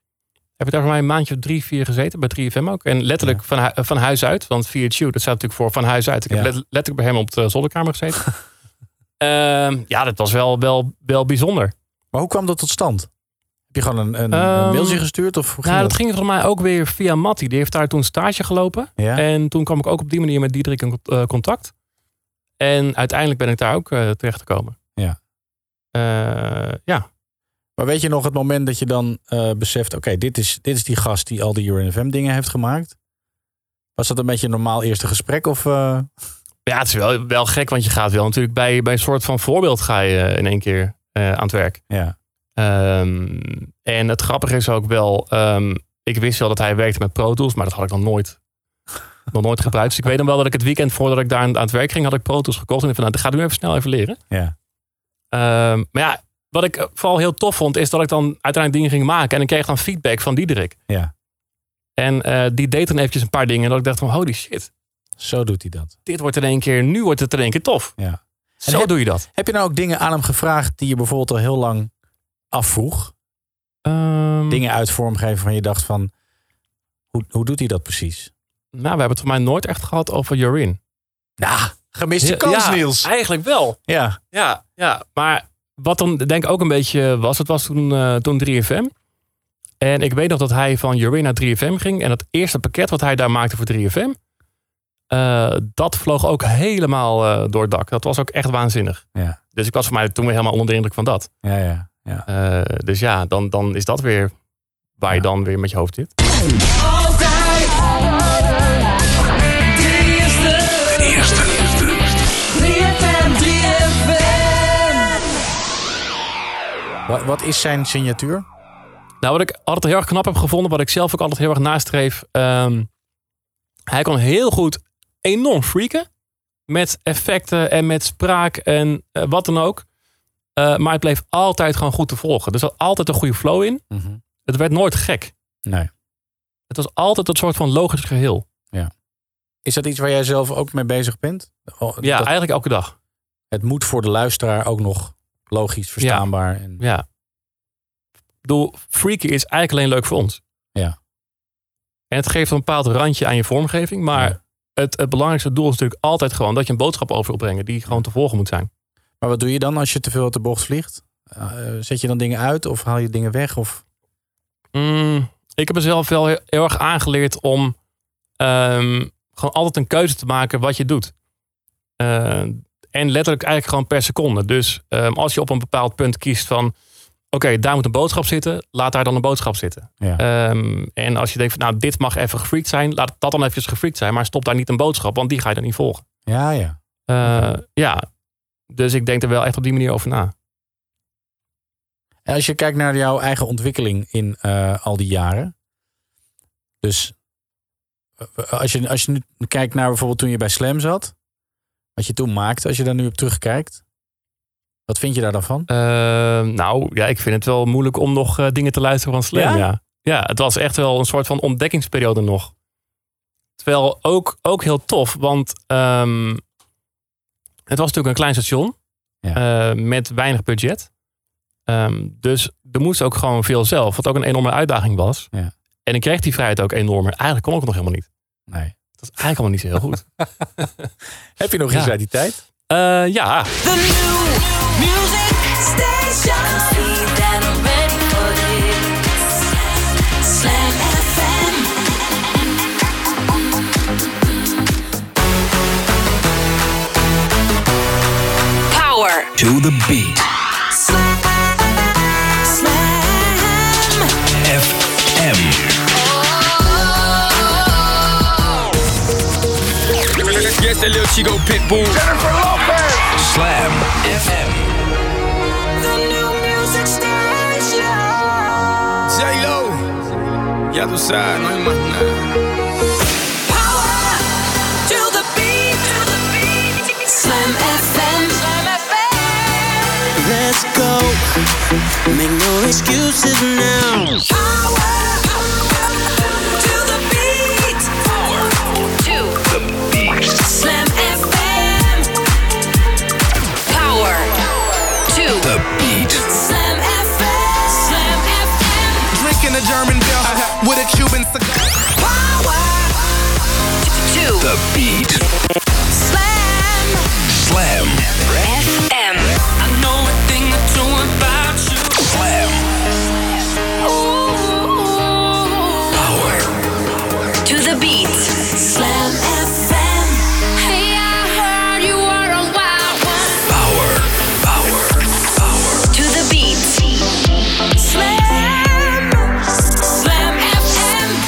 Heb ik daar voor mij een maandje of drie, vier gezeten, bij 3FM ook. En letterlijk van, hu- van huis uit, want 4 dat staat natuurlijk voor van huis uit. Ik heb Ja. let- letterlijk bij hem op de zolderkamer gezeten. <laughs> Ehm, ja, dat was wel, wel, wel bijzonder. Maar hoe kwam dat tot stand? Heb je gewoon een, een, een Ehm, mailtje gestuurd? Of hoe ging Nou, dat ging volgens mij ook weer via Matti. Die heeft daar toen stage gelopen. Ja? En toen kwam ik ook op die manier met Diederik in cont- eh, contact. En uiteindelijk ben ik daar ook eh, terechtgekomen. Ja. Eh, ja, Maar weet je nog het moment dat je dan eh, beseft... oké, dit, is, dit is die gast die al die UNFM dingen heeft gemaakt. Was dat een beetje een normaal eerste gesprek? Of, eh, Ja, het is wel, wel gek, want je gaat wel natuurlijk bij, bij een soort van voorbeeld ga je eh, in één keer eh, aan het werk. ja. Ehm, en het grappige is ook wel, ehm, ik wist wel dat hij werkte met Pro Tools, maar dat had ik nog nooit, nog nooit gebruikt. Dus ik weet dan wel dat ik het weekend voordat ik daar aan, aan het werk ging, had ik Pro Tools gekocht. En ik van, nou, dat ga ik nu even snel even leren. Ja. Ehm, maar ja, wat ik vooral heel tof vond, is dat ik dan uiteindelijk dingen ging maken. En ik kreeg dan feedback van Diederik. Ja. En eh, die deed dan eventjes een paar dingen. En dat ik dacht van, holy shit, Zo doet hij dat. dit wordt in één keer, nu wordt het in één keer tof. Ja. Zo heb- doe je dat. Heb je nou ook dingen aan hem gevraagd die je bijvoorbeeld al heel lang afvroeg? Dingen uit vormgeven van je dacht van... Hoe, hoe doet hij dat precies? Nou, we hebben het voor mij nooit echt gehad over Jorien. Nou, gemiste kans, ja, Niels. Eigenlijk wel. Ja. Ja, ja, maar wat dan denk ik ook een beetje was, het was toen, eh, toen 3FM. En ik weet nog dat hij van Urine naar 3FM ging. En dat eerste pakket wat hij daar maakte voor 3FM, eh, dat vloog ook helemaal eh, door het dak. Dat was ook echt waanzinnig. Ja. Dus ik was voor mij toen weer helemaal onder de indruk van dat. Ja, ja. Eh, dus ja, dan, dan is dat weer waar je dan weer met je hoofd zit. Altijd. De eerste. De eerste. 3FM, 3FM. Wat, wat is zijn signatuur? Nou, wat ik altijd heel erg knap heb gevonden, wat ik zelf ook altijd heel erg nastreef. ehm, hij kan heel goed enorm freaken. Met effecten en met spraak en eh, wat dan ook. Eh, maar het bleef altijd gewoon goed te volgen. Er zat altijd een goede flow in. Mhm. Het werd nooit gek. Nee. Het was altijd een soort van logisch geheel. Is dat iets waar jij zelf ook mee bezig bent? Oh, Ja, dat- eigenlijk elke dag. het moet voor de luisteraar ook nog logisch verstaanbaar. En, Ja. Ik bedoel, freaky is eigenlijk alleen leuk voor ons. Ja. En het geeft een bepaald randje aan je vormgeving. Maar het, het belangrijkste doel is natuurlijk altijd gewoon dat je een boodschap over wil brengen die gewoon te volgen moet zijn. Maar wat doe je dan als je te veel uit de bocht vliegt? Eh, zet je dan dingen uit of haal je dingen weg? Of... Mm, ik heb mezelf wel heel, heel erg aangeleerd om ehm, gewoon altijd een keuze te maken wat je doet. Eh, en letterlijk eigenlijk gewoon per seconde. Dus ehm, als je op een bepaald punt kiest van... oké, daar moet een boodschap zitten, laat daar dan een boodschap zitten. Ja. Ehm, en als je denkt van nou, dit mag even gefreakt zijn... laat dat dan even gefreakt zijn, maar stop daar niet een boodschap... want die ga je dan niet volgen. Ja, ja. Eh, Ja, dus ik denk er wel echt op die manier over na. En als je kijkt naar jouw eigen ontwikkeling in eh, al die jaren. Dus eh, als je, als je nu kijkt naar bijvoorbeeld toen je bij Slam zat. Wat je toen maakte, als je daar nu op terugkijkt. Wat vind je daar dan van? Eh, nou, ja, ik vind het wel moeilijk om nog eh, dingen te luisteren van Slam. Ja? Ja? Ja. het was echt wel een soort van ontdekkingsperiode nog. Terwijl ook, ook heel tof, want ehm, het was natuurlijk een klein station eh, met weinig budget. Ehm, dus er moest ook gewoon veel zelf, wat ook een enorme uitdaging was. Ja. En ik kreeg die vrijheid ook enorm. maar Eigenlijk kon ik het nog helemaal niet. Nee. Dat is eigenlijk allemaal niet zo heel <laughs> goed. Heb je nog iets Ja. uit die tijd? Eh, ja, The new music station. See that I'm ready for this. Slam FM. Power. To the beat. Slam. Slam. FM. Yes, that little Chico Pitbull. Jennifer Lopez. Slam FM. The new music station. J-Lo. Ya tú sabes, no hay más nada. Power to the beat. To the beat. Slam FM. Slam FM. Let's go. Make no excuses now. Slam FM. Power to the beat. Slam FM. Slam FM. Drinking a German beer <laughs> with a Cuban cigar. Power to the beat. Slam Slam. FM. I know a thing or two about you. Slam. Power to the beat. Slam FM. Hey, I heard you were a wild one. Power, power, power to the beat. Slam, slam FM.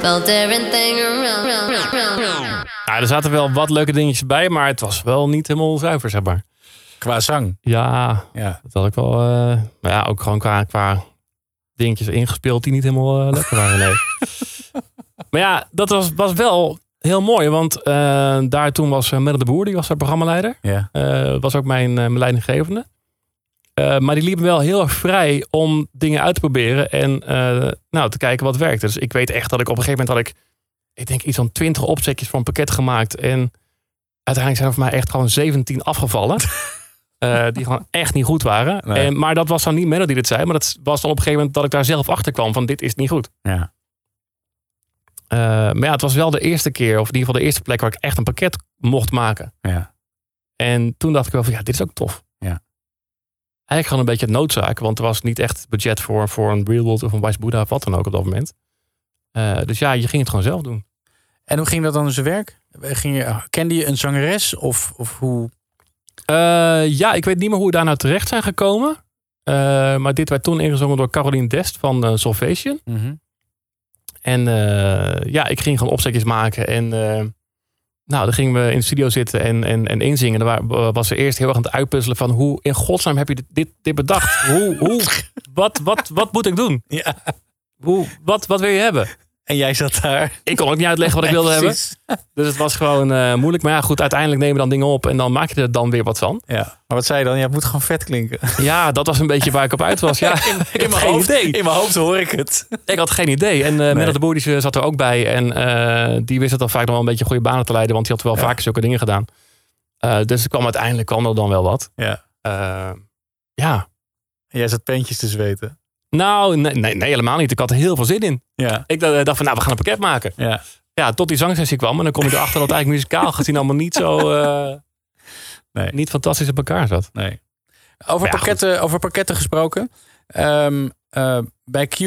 Felt everything around, around, around, around. Nou, er zaten wel wat leuke dingetjes bij, maar het was wel niet helemaal zuiver, zeg maar. Qua zang? Ja, dat had ik wel. eh, maar ja, ook gewoon qua, qua dingetjes ingespeeld die niet helemaal eh, lekker waren. Nee. maar ja, dat was, was wel heel mooi, want eh, daar toen was eh, Merel de Boer, die was haar programmaleider. Ja. Eh, was ook mijn, eh, mijn leidinggevende. Eh, maar die liep me wel heel erg vrij om dingen uit te proberen en eh, nou, te kijken wat werkte. Dus ik weet echt dat ik op een gegeven moment had ik, ik denk iets van twintig opzetjes voor een pakket gemaakt. En uiteindelijk zijn er voor mij echt gewoon 17 afgevallen. Eh, die gewoon echt niet goed waren. Nee. En, maar dat was dan niet Menno die dit zei. Maar dat was dan op een gegeven moment dat ik daar zelf achter kwam. Van dit is niet goed. Ja. Eh, maar ja, het was wel de eerste keer. Of in ieder geval de eerste plek waar ik echt een pakket mocht maken. Ja. En toen dacht ik wel van ja, dit is ook tof. Ja. Eigenlijk gewoon een beetje het noodzaak. Want er was niet echt budget voor, voor een Real World of een Wise Buddha of wat dan ook op dat moment. Eh, dus ja, je ging het gewoon zelf doen. En hoe ging dat dan in zijn werk? Ging je, kende je een zangeres of, of hoe? Eh, ja, ik weet niet meer hoe we daar nou terecht zijn gekomen. Eh, maar dit werd toen ingezongen door Caroline Dest van eh, Solvation. Mhm. En eh, ja, ik ging gewoon opzetjes maken. En eh, nou, dan gingen we in de studio zitten en, en, en inzingen. Daar wa- was ze eerst heel erg aan het uitpuzzelen van... hoe in godsnaam heb je dit, dit, dit bedacht? hoe, hoe, wat, wat, wat moet ik doen? Ja. Hoe, wat, wat wil je hebben? En jij zat daar. Ik kon ook niet uitleggen wat ik Nee, wilde hebben. precies. Dus het was gewoon eh, moeilijk. Maar ja, goed, uiteindelijk nemen we dan dingen op... en dan maak je er dan weer wat van. Ja. Maar wat zei je dan? Ja, het moet gewoon vet klinken. Ja, dat was een beetje waar ik op uit was. Ja, In- in <laughs> <laughs> Ik had mijn geen hoofd- idee. in mijn hoofd hoor ik het. Ik had geen idee. En eh Menno de Boer die zat er ook bij. En eh, die wist het dan vaak nog wel een beetje goede banen te leiden. Want die had wel vaker zulke dingen gedaan. Eh, dus er kwam uiteindelijk kwam er dan wel wat. Eh, Ja. ja. jij zat pentjes te zweten. Nou, nee, nee, nee, helemaal niet. Ik had er heel veel zin in. Ja. Ik eh, dacht van, nou, we gaan een pakket maken. Ja. Ja, tot die zangsessie kwam. En dan kom je erachter dat het eigenlijk muzikaal gezien allemaal niet zo... eh, Niet fantastisch op elkaar zat. Nee. Over, pakketten, over pakketten gesproken. Ehm, eh, bij Q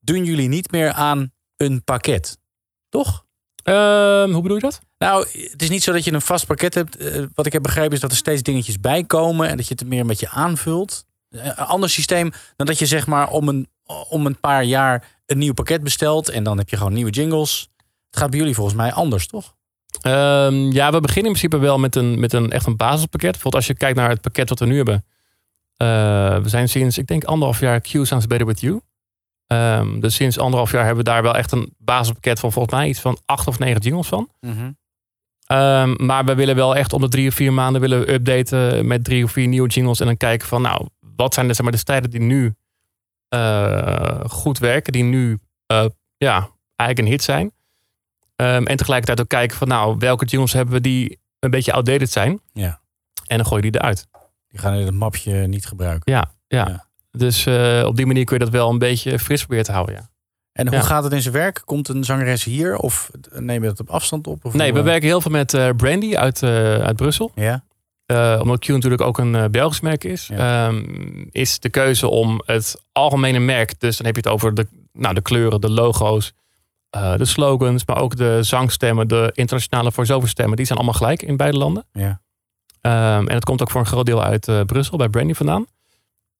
doen jullie niet meer aan een pakket. Toch? Ehm, hoe bedoel je dat? Nou, het is niet zo dat je een vast pakket hebt. Eh, wat ik heb begrepen is dat er steeds dingetjes bij komen. En dat je het meer een beetje aanvult. Eh, Een ander systeem dan dat je zeg maar om een, om een paar jaar een nieuw pakket bestelt. En dan heb je gewoon nieuwe jingles. Het gaat bij jullie volgens mij anders, toch? Ehm, ja, we beginnen in principe wel met een, met een echt een basispakket. Bijvoorbeeld als je kijkt naar het pakket wat we nu hebben. Eh, we zijn sinds, ik denk anderhalf jaar Q Sounds Better With You. Ehm, dus sinds anderhalf jaar hebben we daar wel echt een basispakket van volgens mij iets van acht of negen jingles van. Mhm. Ehm, maar we willen wel echt om de drie of vier maanden willen we updaten met drie of vier nieuwe jingles. En dan kijken van nou, wat zijn de, zeg maar, de stijlen die nu eh, goed werken. Die nu eh, ja, eigenlijk een hit zijn. Ehm, en tegelijkertijd ook kijken van nou, welke jingles hebben we die een beetje outdated zijn. Ja. En dan gooi je die eruit. Die gaan in het mapje niet gebruiken. Ja, ja. Dus eh, op die manier kun je dat wel een beetje fris proberen te houden. Ja. En hoe Ja. gaat het in zijn werk? Komt een zangeres hier of neem je dat op afstand op? Of Nee, hoe, we eh? werken heel veel met eh, Brandy uit, eh, uit Brussel. Ja. Eh, omdat Q natuurlijk ook een eh, Belgisch merk is, ehm, is de keuze om het algemene merk, dus dan heb je het over de, nou, de kleuren, de logo's, eh, de slogans, maar ook de zangstemmen, de internationale voice stemmen, die zijn allemaal gelijk in beide landen. Ja. Ehm, en het komt ook voor een groot deel uit eh, Brussel, bij Brandy vandaan.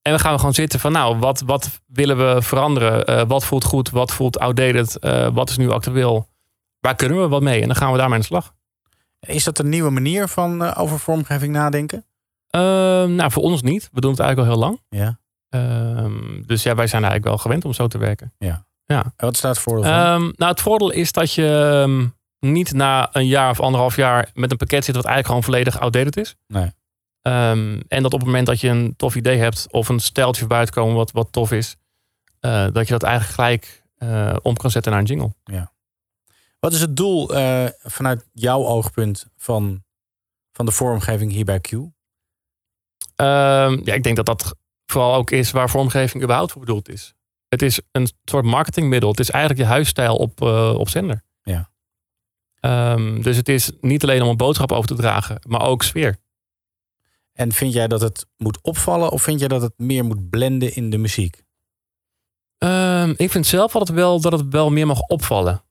En we gaan gewoon zitten van, nou, wat, wat willen we veranderen? Eh, wat voelt goed? Wat voelt outdated? Eh, wat is nu actueel? Waar kunnen we wat mee? En dan gaan we daarmee aan de slag. Is dat een nieuwe manier van eh, over vormgeving nadenken? Ehm, nou, voor ons niet. We doen het eigenlijk al heel lang. Ja. Ehm, dus ja, wij zijn eigenlijk wel gewend om zo te werken. Ja. ja. En wat staat voor? Ehm, nou, het voordeel is dat je ehm, niet na een jaar of anderhalf jaar met een pakket zit wat eigenlijk gewoon volledig outdated is. Nee. Ehm, en dat op het moment dat je een tof idee hebt of een steltje buiten komen wat, wat tof is, eh, dat je dat eigenlijk gelijk eh, om kan zetten naar een jingle. Ja. Wat is het doel eh, vanuit jouw oogpunt van, van de vormgeving hier bij Q? Ehm, ja, ik denk dat dat vooral ook is waar vormgeving überhaupt voor bedoeld is. Het is een soort marketingmiddel. Het is eigenlijk je huisstijl op, eh, op zender. Ja. Ehm, dus het is niet alleen om een boodschap over te dragen, maar ook sfeer. En vind jij dat het moet opvallen of vind jij dat het meer moet blenden in de muziek? Ehm, ik vind zelf altijd wel dat het wel meer mag opvallen.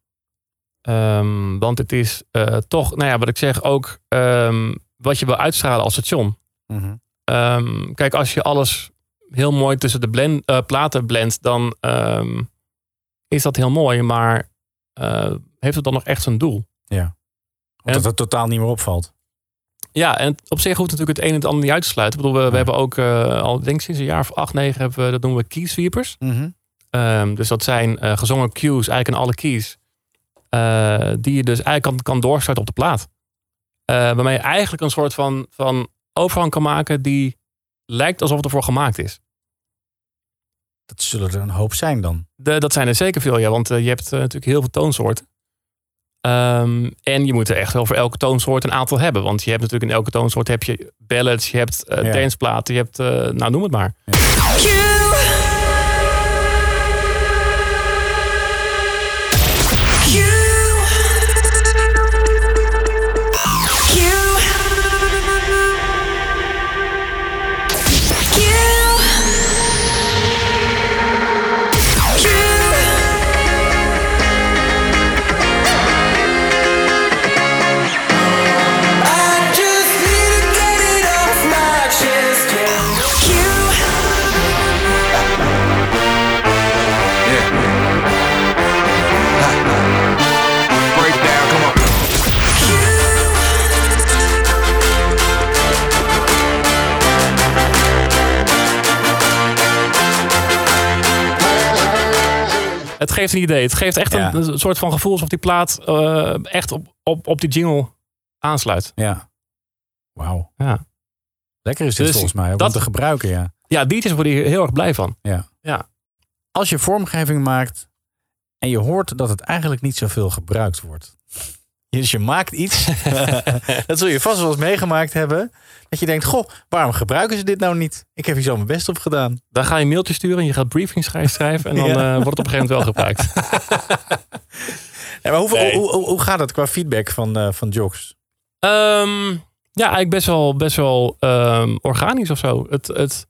Ehm, want het is eh, toch, nou ja, wat ik zeg, ook ehm, wat je wil uitstralen als station. Mhm. Ehm, kijk, als je alles heel mooi tussen de blend, eh, platen blendt, dan ehm, is dat heel mooi. Maar eh, heeft het dan nog echt zijn doel? Ja. En- Omdat het totaal niet meer opvalt. Ja, en op zich hoeft natuurlijk het een en het ander niet uit te sluiten. Ik bedoel, we, we hebben ook eh, al, denk ik, sinds een jaar of acht, negen, hebben we, dat noemen we key sweepers. Ehm, dus dat zijn eh, gezongen cues eigenlijk in alle keys. eh, die je dus eigenlijk kan, kan doorstarten op de plaat. Eh, waarmee je eigenlijk een soort van, van overgang kan maken die lijkt alsof het ervoor gemaakt is. Dat zullen er een hoop zijn dan. De- dat zijn er zeker veel, ja. Want eh, je hebt eh, natuurlijk heel veel toonsoorten. Ehm, en je moet er echt wel voor elke toonsoort een aantal hebben. Want je hebt natuurlijk in elke toonsoort heb je ballads, je hebt eh Ja. danceplaten, je hebt, eh, nou noem het maar. Het geeft een idee. Het geeft echt Ja. een, een soort van gevoel alsof die plaat eh, echt op, op, op die jingle aansluit. Ja. Wauw. Ja. Lekker is dit Dus volgens mij. Ook om dat- te gebruiken, ja. Ja, DJ's worden hier heel erg blij van. ja. Ja. Als je vormgeving maakt en je hoort dat het eigenlijk niet zoveel gebruikt wordt. Dus je maakt <laughs> iets, dat zul je vast wel eens meegemaakt hebben. Dat je denkt, goh, waarom gebruiken ze dit nou niet? Ik heb hier zo mijn best op gedaan. Dan ga je een mailtje sturen, je gaat briefings schrijven en dan Ja. eh, wordt het op een gegeven moment wel <laughs> gebruikt. Ja, maar hoeveel, Nee. hoe, hoe, hoe gaat het qua feedback van, eh van Jocks? Ehm, ja, eigenlijk best wel, best wel ehm, organisch of zo. Het, het,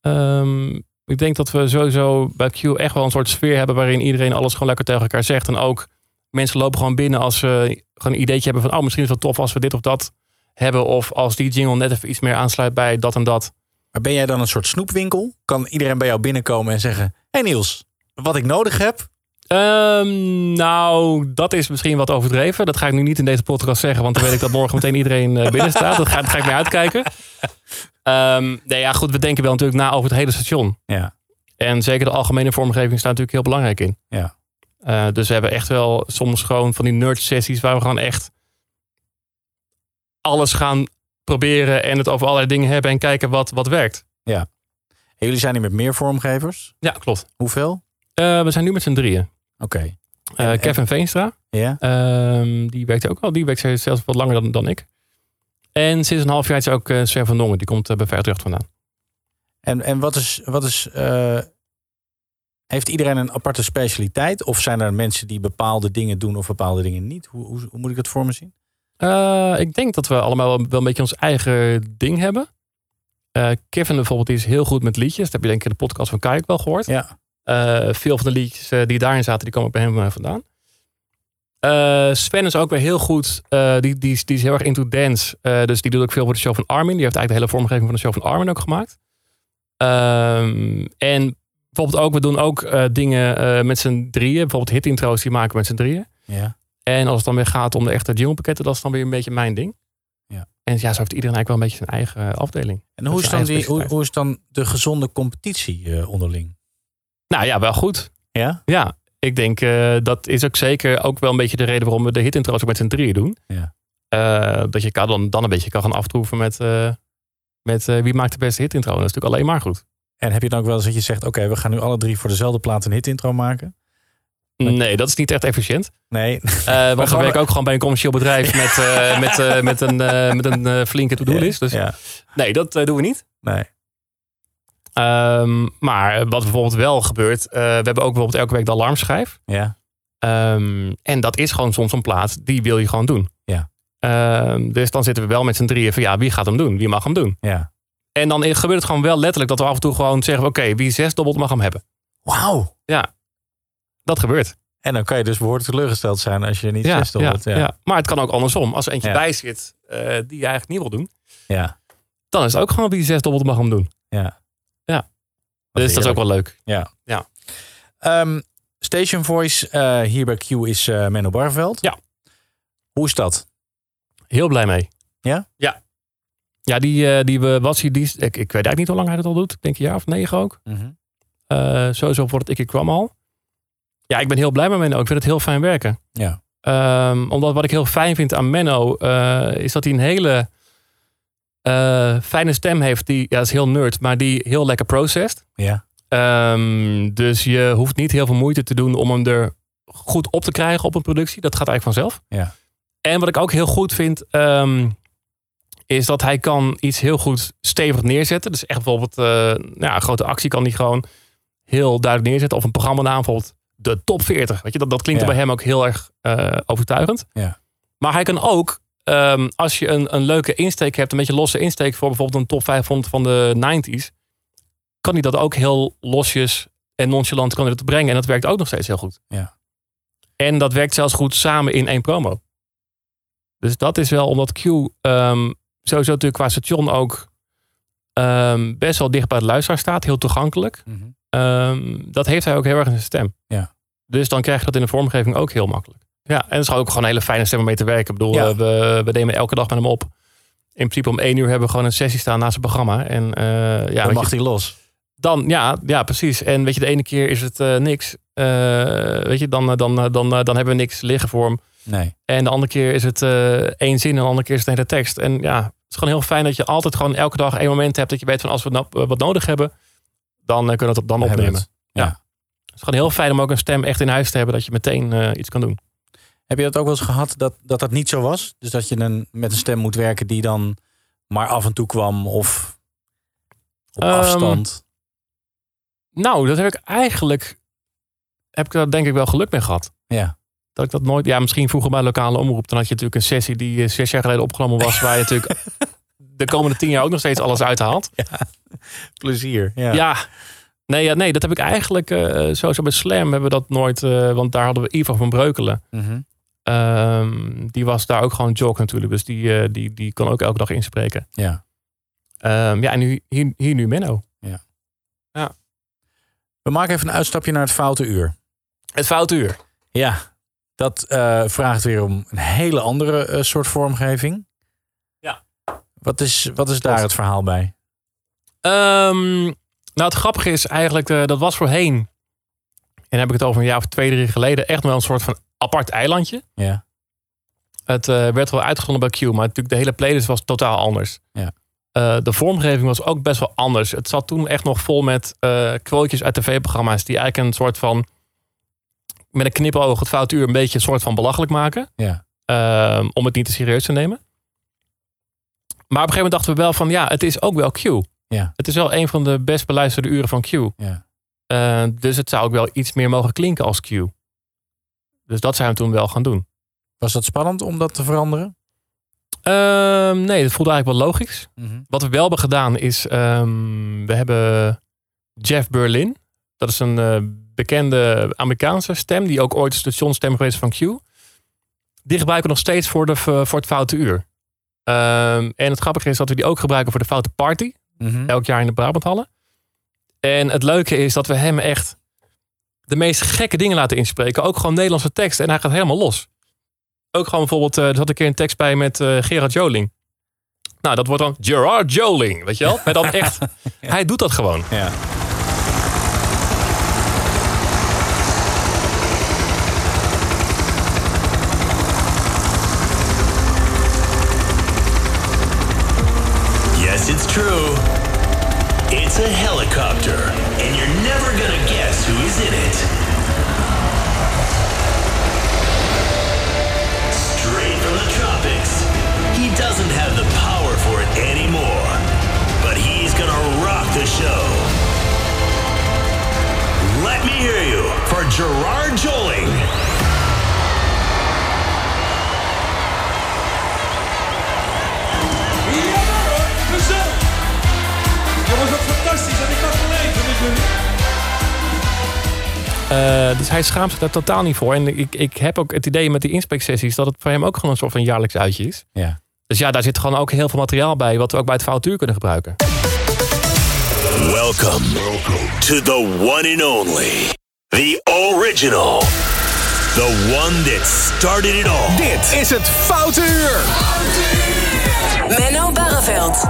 ehm, ik denk dat we sowieso bij Q echt wel een soort sfeer hebben waarin iedereen alles gewoon lekker tegen elkaar zegt. En ook mensen lopen gewoon binnen als ze gewoon een ideetje hebben van, oh, misschien is het wel tof als we dit of dat hebben. Of als die jingle net even iets meer aansluit bij dat en dat. Maar ben jij dan een soort snoepwinkel? Kan iedereen bij jou binnenkomen en zeggen... hey Niels, wat ik nodig heb... Ehm, nou, dat is misschien wat overdreven. Dat ga ik nu niet in deze podcast zeggen, want dan weet ik dat morgen meteen iedereen eh, binnen staat. Dat ga, daar ga ik mee uitkijken. Ehm, nee, ja, goed, we denken wel natuurlijk na over het hele station. Ja, En zeker de algemene vormgeving staat natuurlijk heel belangrijk in. ja. Eh, dus we hebben echt wel soms gewoon van die nerd-sessies waar we gewoon echt alles gaan proberen en het over allerlei dingen hebben en kijken wat, wat werkt. ja. En jullie zijn hier met meer vormgevers? Ja, klopt. Hoeveel? Oké. Eh, we zijn nu met z'n drieën. Eh, Kevin Veenstra. Ja? Ehm, die werkt ook al. Die werkt zelfs wat langer dan, dan ik. En sinds een half jaar is ook eh, Sven van Dongen. Die komt eh, bij Verdracht vandaan. En, en wat is... Wat is eh, heeft iedereen een aparte specialiteit? Of zijn er mensen die bepaalde dingen doen of bepaalde dingen niet? Hoe, hoe, hoe moet ik dat voor me zien? Eh, ik denk dat we allemaal wel, wel een beetje ons eigen ding hebben. Eh, Kevin bijvoorbeeld die is heel goed met liedjes. Dat heb je denk ik in de podcast van Kijk wel gehoord. Ja. Eh, veel van de liedjes eh, die daarin zaten, die komen bij hem eh, vandaan. Eh, Sven is ook weer heel goed. eh, die, die, is- die is heel erg into dance. Eh, dus die doet ook veel voor de show van Armin. Die heeft eigenlijk de hele vormgeving van de show van Armin ook gemaakt. Ehm, en bijvoorbeeld ook, we doen ook eh, dingen eh, met z'n drieën. Bijvoorbeeld hitintro's die maken we met z'n drieën. Ja. En als het dan weer gaat om de echte jinglepakketten, dat is dan weer een beetje mijn ding. Ja. En ja, zo heeft iedereen eigenlijk wel een beetje zijn eigen eh, afdeling. En hoe is, dan Zijn die, eigen hoe, specialiteit. hoe is dan de gezonde competitie eh, onderling? Nou ja, wel goed. Ja? Ja, ik denk eh, dat is ook zeker ook wel een beetje de reden waarom we de hitintro's ook met z'n drieën doen. Ja. Eh, dat je elkaar dan, dan een beetje kan gaan aftroeven met, eh, met eh, wie maakt de beste hitintro. Dat is natuurlijk alleen maar goed. En heb je dan ook wel eens dat je zegt... Oké, we gaan nu alle drie voor dezelfde plaat een hitintro maken? Nee, dat is niet echt efficiënt. Eh Nee. <laughs> want we gewoon- werken ook gewoon bij een commercieel bedrijf met, eh, met, eh, met een, eh, met een eh, flinke to-do-list. Dus Ja. nee, dat eh, doen we niet. Nee. Ehm, maar wat bijvoorbeeld wel gebeurt, eh, we hebben ook bijvoorbeeld elke week de alarmschijf. Ja. Ehm, en dat is gewoon soms een plaat, die wil je gewoon doen. Ja. Ehm, dus dan zitten we wel met z'n drieën van ja, wie gaat hem doen? Wie mag hem doen? Ja. En dan gebeurt het gewoon wel letterlijk dat we af en toe gewoon zeggen: oké, wie zes dobbelt mag hem hebben. Wauw. Ja, dat gebeurt. En dan kan je dus behoorlijk teleurgesteld zijn als je er niet Ja, zes dobbelt. ja, Ja. Ja. ja. Maar het kan ook andersom. Als er eentje Ja. bij zit eh, die je eigenlijk niet wil doen, Ja. dan is het ook gewoon wie zes dobbelt mag hem doen. ja. Ja. Dus dat is ook wel leuk. Ja. Ehm, Station Voice eh, hier bij Q is eh Menno Barveld. Ja. Hoe is dat? Heel blij mee. Ja? Ja. Ja, die, eh die eh, was hier. Die, is- ik, ik weet eigenlijk niet hoe lang hij dat al doet. Ik denk een jaar of negen ook. Mhm. Eh, sowieso voor het ik, ik kwam al. Ja, ik ben heel blij met Menno. Ik vind het heel fijn werken. Ja. Ehm, omdat wat ik heel fijn vind aan Menno... eh, is dat hij een hele eh, fijne stem heeft. Die, ja, dat is heel nerd, maar die heel lekker processed. Ja. Ehm, dus je hoeft niet heel veel moeite te doen om hem er goed op te krijgen op een productie. Dat gaat eigenlijk vanzelf. Ja. En wat ik ook heel goed vind, ehm, is dat hij kan iets heel goed stevig neerzetten. Dus echt bijvoorbeeld, eh, nou ja, een grote actie kan hij gewoon heel duidelijk neerzetten. Of een programmanaam bijvoorbeeld, de top 40. Weet je, dat, dat klinkt Ja. bij hem ook heel erg eh, overtuigend. Ja. Maar hij kan ook, ehm, als je een, een leuke insteek hebt, een beetje losse insteek voor bijvoorbeeld een top 500 van de 90s, kan hij dat ook heel losjes en nonchalant kan hij dat brengen. En dat werkt ook nog steeds heel goed. Ja. En dat werkt zelfs goed samen in één promo. Dus dat is wel omdat Q ehm, sowieso natuurlijk qua station ook ehm, best wel dicht bij het luisteraar staat. Heel toegankelijk. Ehm, dat heeft hij ook heel erg in zijn stem. Mhm. Ja. Dus dan krijg je dat in de vormgeving ook heel makkelijk. Ja, en het is ook gewoon een hele fijne stem om mee te werken. Ik bedoel, Ja. eh, we, we nemen elke dag met hem op. In principe om één uur hebben we gewoon een sessie staan naast het programma. En, eh, ja, Dan weet mag je, hij los. dan, ja, ja, precies. En weet je, de ene keer is het eh, niks. Eh, weet je, dan, eh, dan, eh, dan, eh, dan hebben we niks liggen voor hem. Nee. En de andere keer is het eh, één zin en de andere keer is het een hele tekst. En ja, het is gewoon heel fijn dat je altijd gewoon elke dag één moment hebt dat je weet van als we nou, eh, wat nodig hebben, dan eh, kunnen we het dan hebben opnemen. het. Ja. Het is gewoon heel fijn om ook een stem echt in huis te hebben dat je meteen eh, iets kan doen. Heb je dat ook wel eens gehad dat dat, dat niet zo was? Dus dat je een, met een stem moet werken die dan maar af en toe kwam of op Ehm, afstand? Nou, dat heb ik eigenlijk, heb ik daar denk ik wel geluk mee gehad. Ja. Dat ik dat nooit, ja, misschien vroeger bij lokale omroep. Dan had je natuurlijk een sessie die eh, zes jaar geleden opgenomen was. Waar je <laughs> natuurlijk de komende tien jaar ook nog steeds alles uithaalt. Plezier. Ja. Ja. Nee, ja, nee, dat heb ik eigenlijk eh sowieso bij Slam hebben we dat nooit. eh, want daar hadden we Ivo van Breukelen. Mhm. Ehm, die was daar ook gewoon jock natuurlijk. Dus die, eh, die, die kon ook elke dag inspreken. ja. Ehm, ja, en nu, hier, hier nu Menno. We maken even een uitstapje naar het foute uur. Het foute uur. Ja, dat eh, vraagt weer om een hele andere eh, soort vormgeving. Ja. Wat is, wat is daar het verhaal bij? Ehm, nou, het grappige is eigenlijk, eh, dat was voorheen. En dan heb ik het over een jaar of twee, drie geleden. Echt wel een soort van apart eilandje. Ja. Het eh, werd wel uitgezonden bij Q, maar natuurlijk de hele playlist was totaal anders. Ja. Eh, de vormgeving was ook best wel anders. Het zat toen echt nog vol met eh quotejes uit tv-programma's die eigenlijk een soort van met een knipoog het foute uur een beetje een soort van belachelijk maken. Ja. Ehm, om het niet te serieus te nemen. Maar op een gegeven moment dachten we wel van ja, het is ook wel Q. Ja. Het is wel een van de best beluisterde uren van Q. Ja. Eh, dus het zou ook wel iets meer mogen klinken als Q. Dus dat zijn we toen wel gaan doen. Was dat spannend om dat te veranderen? Ehm, nee, dat voelde eigenlijk wel logisch. Mhm. Wat we wel hebben gedaan is, ehm, we hebben Jeff Berlin. Dat is een eh, bekende Amerikaanse stem, die ook ooit stationstem geweest is van Q. Die gebruiken we nog steeds voor, de, eh, voor het foute uur. Ehm, en het grappige is dat we die ook gebruiken voor de foute party. mhm. Elk jaar in de Brabanthallen. En het leuke is dat we hem echt de meest gekke dingen laten inspreken. Ook gewoon Nederlandse teksten. En hij gaat helemaal los. Ook gewoon bijvoorbeeld, eh, er zat een keer een tekst bij met eh, Gerard Joling. Nou, dat wordt dan Gerard Joling, weet je wel? Maar dan echt, hij doet dat gewoon. Ja. Yes, it's true. It's a helicopter, and you're never gonna guess who is in it. Straight from the tropics. He doesn't have the power for it anymore, but he's gonna rock the show. Let me hear you for Gerard Joling. Jongens, wat fantastisch. En ik had gelijk. Dat is jullie. Eh, dus hij schaamt zich daar totaal niet voor. En ik, ik heb ook het idee met die inspectsessies dat het voor hem ook gewoon een soort van jaarlijks uitje is. Ja. Dus ja, daar zit gewoon ook heel veel materiaal bij, wat we ook bij het foutuur kunnen gebruiken. Welcome to the one and only The original. The one that started it all. Dit is het Foute Uur. Menno Barreveld.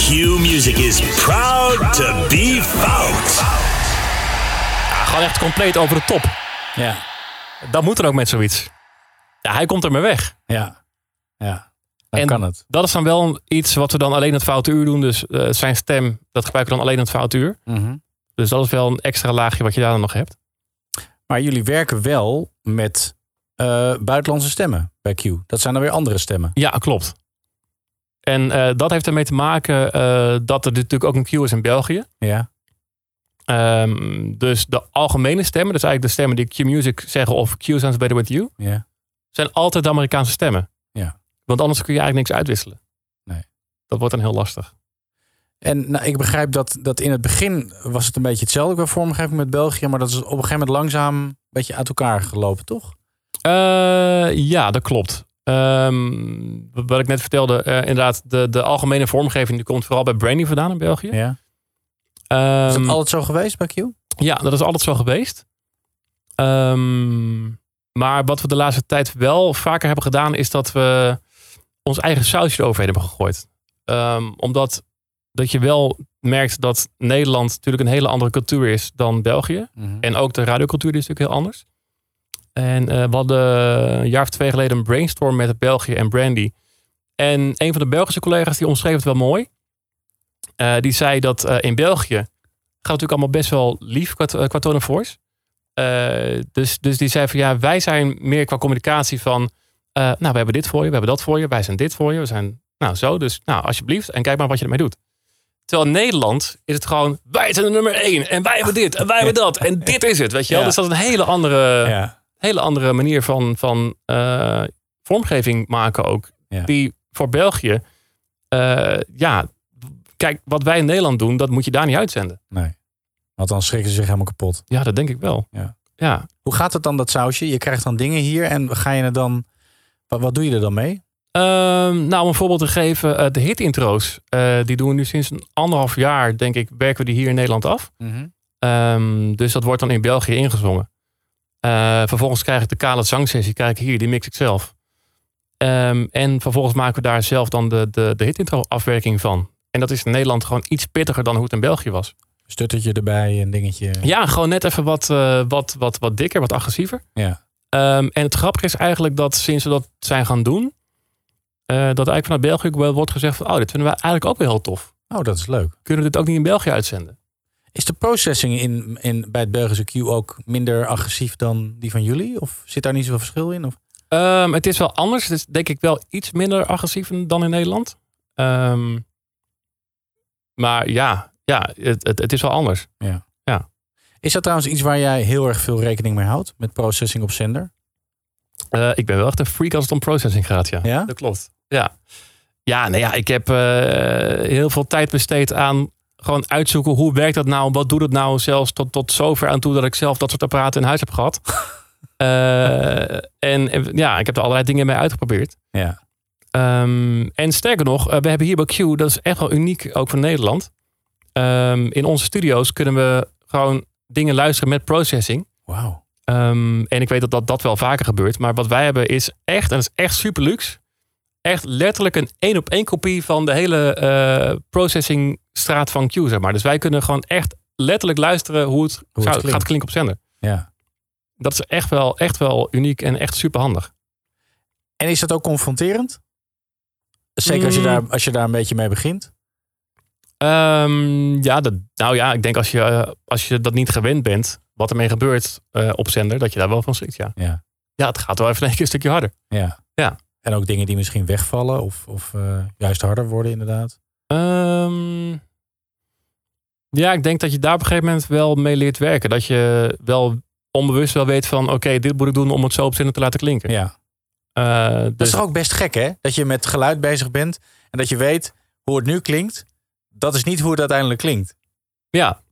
Q Music is proud to be fout. Ja, gewoon echt compleet over de top. Ja. Dat moet er ook met zoiets. Ja, hij komt er maar weg. Ja. Ja. Dan en kan het. Dat is dan wel iets wat we dan alleen het foute uur doen. Dus eh, zijn stem, dat gebruiken we dan alleen het foute uur. Mhm. Dus dat is wel een extra laagje wat je daar dan nog hebt. Maar jullie werken wel met eh, buitenlandse stemmen bij Q. Dat zijn dan weer andere stemmen. Ja, klopt. En eh, dat heeft ermee te maken eh, dat er natuurlijk ook een queue is in België. Ja. Ehm, dus de algemene stemmen, dus eigenlijk de stemmen die Q-Music zeggen of Q Sounds Better With You, Ja. zijn altijd de Amerikaanse stemmen. Ja. Want anders kun je eigenlijk niks uitwisselen. Nee. Dat wordt dan heel lastig. En nou, ik begrijp dat, dat in het begin was het een beetje hetzelfde qua vormgeving met België. Maar dat is op een gegeven moment langzaam een beetje uit elkaar gelopen, toch? Eh, ja, dat klopt. Ehm, wat wat ik net vertelde, eh, inderdaad, de, de algemene vormgeving die komt vooral bij Brandy vandaan in België. Ja. Ehm, is dat altijd zo geweest bij Q? Ja, dat is altijd zo geweest. Ehm, maar wat we de laatste tijd wel vaker hebben gedaan, is dat we ons eigen sausje eroverheen hebben gegooid. Ehm, omdat dat je wel merkt dat Nederland natuurlijk een hele andere cultuur is dan België. Mhm. En ook de radiocultuur die is natuurlijk heel anders. En eh, we hadden een jaar of twee geleden een brainstorm met België en Brandy. En een van de Belgische collega's die omschreef het wel mooi. Eh, die zei dat eh, in België gaat het natuurlijk allemaal best wel lief qua, eh, qua tone of voice. Eh, dus, dus die zei van ja, wij zijn meer qua communicatie van eh, nou, we hebben dit voor je, we hebben dat voor je, wij zijn dit voor je, we zijn nou zo. Dus nou, alsjeblieft en kijk maar wat je ermee doet. Terwijl in Nederland is het gewoon, wij zijn de nummer één en wij hebben dit en wij hebben dat en dit is het, weet je wel. Ja. Dus dat is een hele andere, Ja. hele andere manier van, van eh, vormgeving maken ook. Die voor België, eh, ja, kijk, wat wij in Nederland doen, dat moet je daar niet uitzenden. Nee. Want dan schrikken ze zich helemaal kapot. Ja, dat denk ik wel. Ja. Ja. Hoe gaat het dan, dat sausje? Je krijgt dan dingen hier en ga je er dan... Wat, wat doe je er dan mee? Ehm, nou, om een voorbeeld te geven, eh, de hit-intro's, eh, die doen we nu sinds een anderhalf jaar, denk ik, werken we die hier in Nederland af. Ehm, dus dat wordt dan in België ingezongen. Eh, vervolgens krijg ik de kale zangsessie, krijg ik hier, die mix ik zelf. Ehm, en vervolgens maken we daar zelf dan de, de, de hitintro afwerking van. En dat is in Nederland gewoon iets pittiger dan hoe het in België was. Stuttertje erbij, een dingetje. Ja, gewoon net even wat, eh, wat, wat, wat dikker, wat agressiever. Ja. Ehm, en het grappige is eigenlijk dat sinds we dat zijn gaan doen, eh, dat eigenlijk vanuit België ook wel wordt gezegd van, oh, dit vinden we eigenlijk ook wel heel tof. Oh, dat is leuk. Kunnen we dit ook niet in België uitzenden? Is de processing in, in, bij het Belgische Q ook minder agressief dan die van jullie? Of zit daar niet zoveel verschil in? Of? Ehm, het is wel anders. Het is denk ik wel iets minder agressief dan in Nederland. Ehm, maar ja, ja het, het, het is wel anders. Ja. ja. Is dat trouwens iets waar jij heel erg veel rekening mee houdt? Met processing op zender? Eh, ik ben wel echt een freak als het om processing gaat, ja. Ja? Dat klopt. Ja, ja, nee, ja ik heb eh, heel veel tijd besteed aan gewoon uitzoeken hoe werkt dat nou, wat doet het nou zelfs tot, tot zover aan toe dat ik zelf dat soort apparaten in huis heb gehad. Eh, en eh, ja, ik heb er allerlei dingen mee uitgeprobeerd. Ja. Ehm, en sterker nog, eh, we hebben hier bij Q, dat is echt wel uniek, ook voor Nederland. Ehm, in onze studio's kunnen we gewoon dingen luisteren met processing. Wauw. Ehm, en ik weet dat, dat dat wel vaker gebeurt. Maar wat wij hebben is echt, en dat is echt super luxe. Echt letterlijk een één op één kopie van de hele eh, processing straat van Q, zeg maar. Dus wij kunnen gewoon echt letterlijk luisteren hoe het, het zou- klinkt. gaat klinken op zender. Ja. Dat is echt wel, echt wel uniek en echt super handig. En is dat ook confronterend? Zeker als je, Mm. daar, als je daar een beetje mee begint. Ehm, ja, dat, nou ja, ik denk als je, eh, als je dat niet gewend bent, wat ermee gebeurt eh, op zender, dat je daar wel van schrikt, ja. Ja. Ja, het gaat wel even <laughs> in één keer een stukje harder. Ja. Ja. En ook dingen die misschien wegvallen of, of eh, juist harder worden inderdaad. Ehm, ja, ik denk dat je daar op een gegeven moment wel mee leert werken. Dat je wel onbewust wel weet van, oké, dit moet ik doen om het zo op zinnen te laten klinken. Ja. Eh, Dat dus- is toch ook best gek hè? Dat je met geluid bezig bent en dat je weet hoe het nu klinkt. Dat is niet hoe het uiteindelijk klinkt. Ja.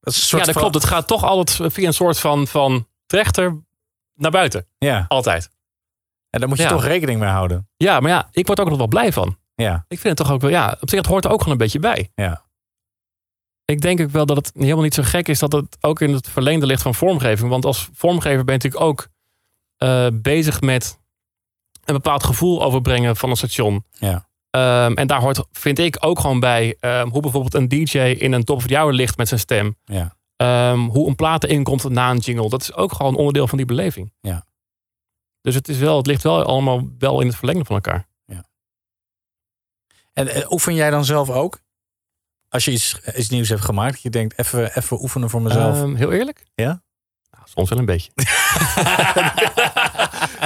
Dat is een soort ja, dat van- klopt. Het gaat toch altijd via een soort van, van trechter naar buiten. Ja. Altijd. En daar moet je Ja. toch rekening mee houden. Ja, maar ja, ik word ook nog wel blij van. Ja. Ik vind het toch ook wel, ja, op zich het hoort er ook gewoon een beetje bij. Ja. Ik denk ook wel dat het helemaal niet zo gek is dat het ook in het verlengde ligt van vormgeving. Want als vormgever ben je natuurlijk ook eh, bezig met een bepaald gevoel overbrengen van een station. Ja. Ehm, en daar hoort, vind ik, ook gewoon bij ehm, hoe bijvoorbeeld een DJ in een top of the hour ligt met zijn stem. Ja. Ehm, hoe een plaat erin komt na een jingle. Dat is ook gewoon onderdeel van die beleving. Ja. Dus het, is wel, het ligt wel allemaal wel in het verlengde van elkaar. En eh, oefen jij dan zelf ook? Als je iets, eh, iets nieuws hebt gemaakt, dat je denkt, even, even oefenen voor mezelf. Ehm, heel eerlijk? Ja? Nou, soms wel een <laughs> beetje. <laughs>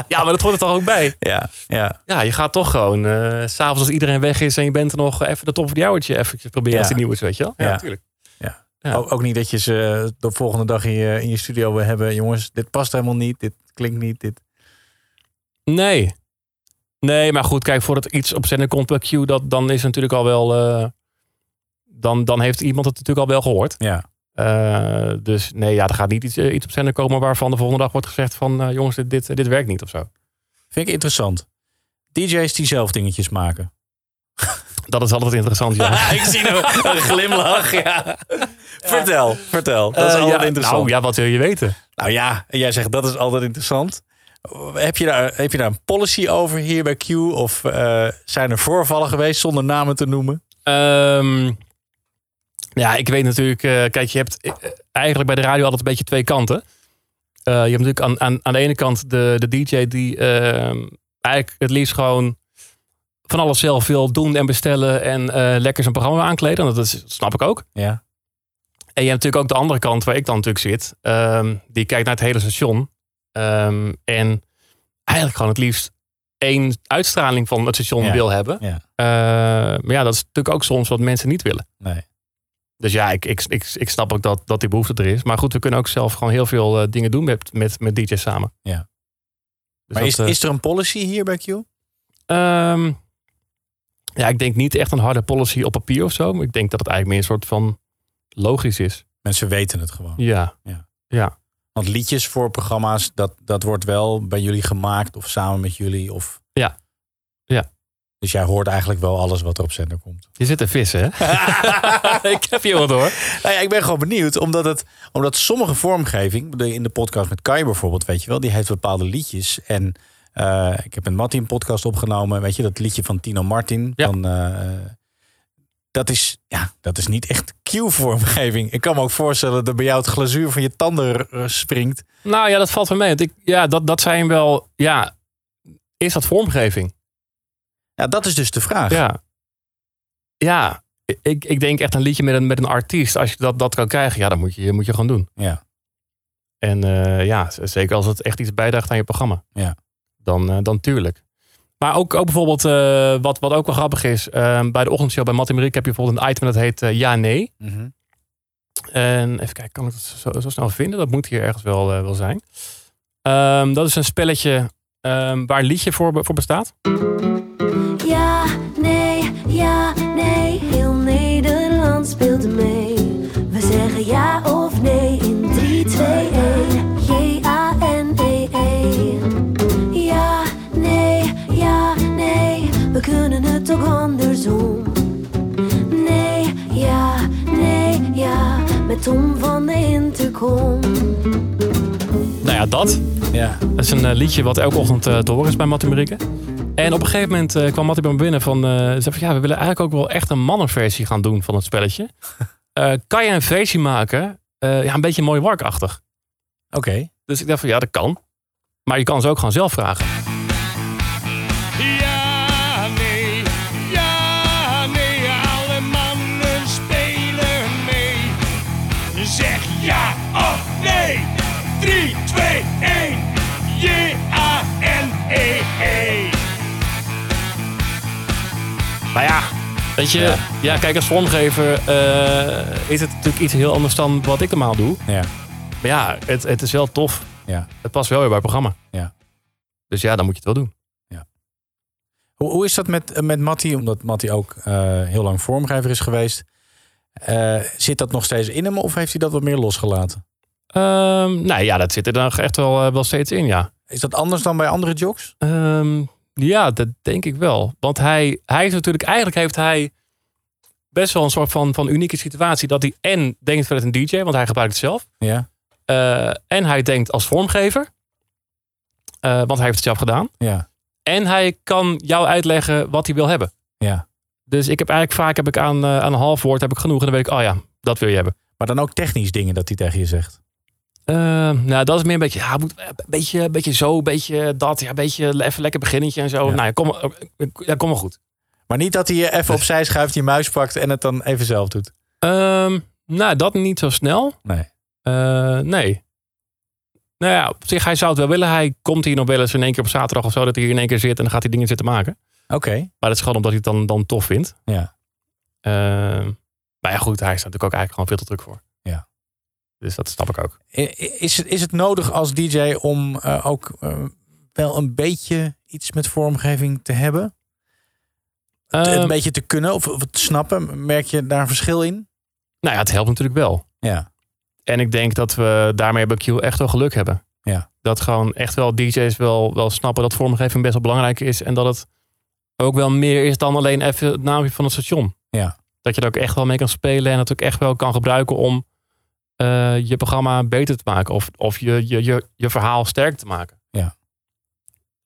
ja, maar dat hoort er toch ook bij? Ja, ja. Ja, je gaat toch gewoon eh, s s'avonds als iedereen weg is en je bent er nog eh, even de top van die hourtje even proberen Ja. als die nieuw is, weet je wel? Ja. natuurlijk. Ja. Ook, ook niet dat je ze eh, de volgende dag in je, in je studio wil hebben. Jongens, dit past helemaal niet. Dit klinkt niet. Dit. Nee. Nee, maar goed, kijk, voordat iets op zender komt bij Q, dat, dan is het natuurlijk al wel... eh, dan, dan heeft iemand het natuurlijk al wel gehoord. Ja. Eh, dus nee, ja, er gaat niet iets, eh, iets op zender komen waarvan de volgende dag wordt gezegd van... eh, jongens, dit, dit, dit werkt niet of zo. Vind ik interessant. DJ's die zelf dingetjes maken. Dat is altijd <laughs> interessant, ja. ik zie een, een glimlach. Ja. Vertel, vertel. Dat is Eh, altijd ja, interessant. Nou ja, wat wil je weten? Nou ja, en jij zegt dat is altijd interessant. Heb je daar, heb je daar een policy over hier bij Q? Of eh, zijn er voorvallen geweest zonder namen te noemen? Ehm, ja, ik weet natuurlijk. eh, kijk, je hebt eh, eigenlijk bij de radio altijd een beetje twee kanten. Eh, je hebt natuurlijk aan, aan, aan de ene kant de, de DJ die ehm, eigenlijk het liefst gewoon van alles zelf wil doen en bestellen. En eh, lekker zijn programma aankleden. Dat, is, dat snap ik ook. Ja. En je hebt natuurlijk ook de andere kant waar ik dan natuurlijk zit. ehm, die kijkt naar het hele station. Ehm, en eigenlijk gewoon het liefst één uitstraling van het station Ja. wil hebben. Ja. Eh, maar ja, dat is natuurlijk ook soms wat mensen niet willen. Nee. Dus ja, ik, ik, ik, ik snap ook dat, dat die behoefte er is. Maar goed, we kunnen ook zelf gewoon heel veel eh, dingen doen met, met, met DJ's samen. Ja. Dus maar dat, is, eh, is er een policy hier bij Q? Ehm, ja, ik denk niet echt een harde policy op papier of zo. Maar ik denk dat het eigenlijk meer een soort van logisch is. Mensen weten het gewoon. Ja. Ja. ja. Want liedjes voor programma's, dat, dat wordt wel bij jullie gemaakt of samen met jullie. Of... Ja. Ja. Dus jij hoort eigenlijk wel alles wat er op zender komt. Je zit te vissen, hè? <laughs> ik heb je wat hoor. Nou ja, ik ben gewoon benieuwd, omdat, het, omdat sommige vormgeving, ik bedoel, in de podcast met Kai bijvoorbeeld, weet je wel, die heeft bepaalde liedjes. En eh, ik heb met Mattie een podcast opgenomen, weet je, dat liedje van Tino Martin. Van, eh, dat, is, ja, dat is niet echt Q-vormgeving. Ik kan me ook voorstellen dat bij jou het glazuur van je tanden eh, springt. Nou ja, dat valt wel mee. Want ik, ja, dat, dat zijn wel... Ja, is dat vormgeving? Ja, dat is dus de vraag. Ja. Ja, ik, ik denk echt een liedje met een, met een artiest. Als je dat, dat kan krijgen, ja, dan moet je, moet je gewoon doen. Ja. En eh, ja, z- zeker als het echt iets bijdraagt aan je programma. Ja. Dan, eh, dan tuurlijk. Maar ook, ook bijvoorbeeld, eh, wat, wat ook wel grappig is. eh, bij de ochtendshow bij Matt en Marieke heb je bijvoorbeeld een item dat heet eh, Ja, Nee. En even kijken, kan ik dat zo, zo snel vinden? Dat moet hier ergens wel, eh, wel zijn. Ehm, dat is een spelletje ehm, waar een liedje voor, be- voor bestaat. Ja, nee, ja, nee, heel Nederland speelt mee. We zeggen ja of nee in 3, 2, 1. J-A-N-E-E. E Ja, nee, ja, nee, we kunnen het ook andersom. Nee, ja, nee, ja, met Tom van de Intercom. Nou ja, dat. Ja. Dat is een eh, liedje wat elke ochtend eh, te horen is bij Mattie Marieke. En op een gegeven moment eh, kwam Mattie bij me binnen van... eh, ze zei van, ja, we willen eigenlijk ook wel echt een mannenversie gaan doen van het spelletje. Eh, kan je een versie maken? Eh, ja, een beetje mooi warkachtig. Oké. Dus ik dacht van, ja, dat kan. Maar je kan ze ook gewoon zelf vragen. Ja, nee, ja, nee, alle mannen spelen mee. Zeg ja of nee. 3, 2, 1. J-A-N-E-E. Nou ja, weet je... Ja, kijk, als vormgever eh, is het natuurlijk iets heel anders dan wat ik normaal doe. Ja. Maar ja, het, het is wel tof. Ja. Het past wel weer bij het programma. Ja. Dus ja, dan moet je het wel doen. Hoe, hoe is dat met, eh, met Mattie? Omdat Mattie ook eh, heel lang vormgever is geweest. Eh, zit dat nog steeds in hem of heeft hij dat wat meer losgelaten? Ehm, nou ja, dat zit er dan echt wel, eh, wel steeds in, ja. Is dat anders dan bij andere jocks? Ehm, ja, dat denk ik wel. Want hij, hij is natuurlijk, eigenlijk heeft hij best wel een soort van, van unieke situatie. Dat hij en denkt vanuit een DJ, want hij gebruikt het zelf. Ja. Eh, en hij denkt als vormgever, eh, want hij heeft het zelf gedaan. Ja. En hij kan jou uitleggen wat hij wil hebben. Ja. Dus ik heb eigenlijk vaak heb ik aan, eh, aan een half woord heb ik genoeg. En dan weet ik, oh ja, dat wil je hebben. Maar dan ook technisch dingen dat hij tegen je zegt. Eh, nou, dat is meer een beetje, ja, moet, eh, een beetje, een beetje zo, een beetje dat, ja, een beetje even lekker beginnetje en zo. Nou ja, kom, maar- eh, ja, kom maar goed. Maar niet dat hij je even opzij schuift, je muis pakt en het dan even zelf doet. Ehm, nou, dat niet zo snel. Nee. Eh, nee. Nou ja, op zich, hij zou het wel willen. Hij komt hier nog wel eens in één keer op zaterdag of zo, dat hij hier in één keer zit en dan gaat hij dingen zitten maken. Oké. Maar dat is gewoon omdat hij het dan, dan tof vindt. Ja. Ehm, maar ja, goed, hij is natuurlijk ook eigenlijk gewoon veel te druk voor. Ja. Dus dat snap ik ook. I- Is het, is het nodig als DJ om eh, ook eh, wel een beetje iets met vormgeving te hebben? Het- het Ehm. een beetje te kunnen of, of het snappen? Merk je daar een verschil in? Nou ja, het helpt natuurlijk wel. Ja. En ik denk dat we daarmee bij Q echt wel geluk hebben. Ja. Dat gewoon echt wel DJ's wel, wel snappen dat vormgeving best wel belangrijk is. En dat het ook wel meer is dan alleen even het naamje van het station. Ja. Dat je er ook echt wel mee kan spelen en dat ook echt wel kan gebruiken om eh, je programma beter te maken. Of, of je, je, je, je verhaal sterk te maken. Ja.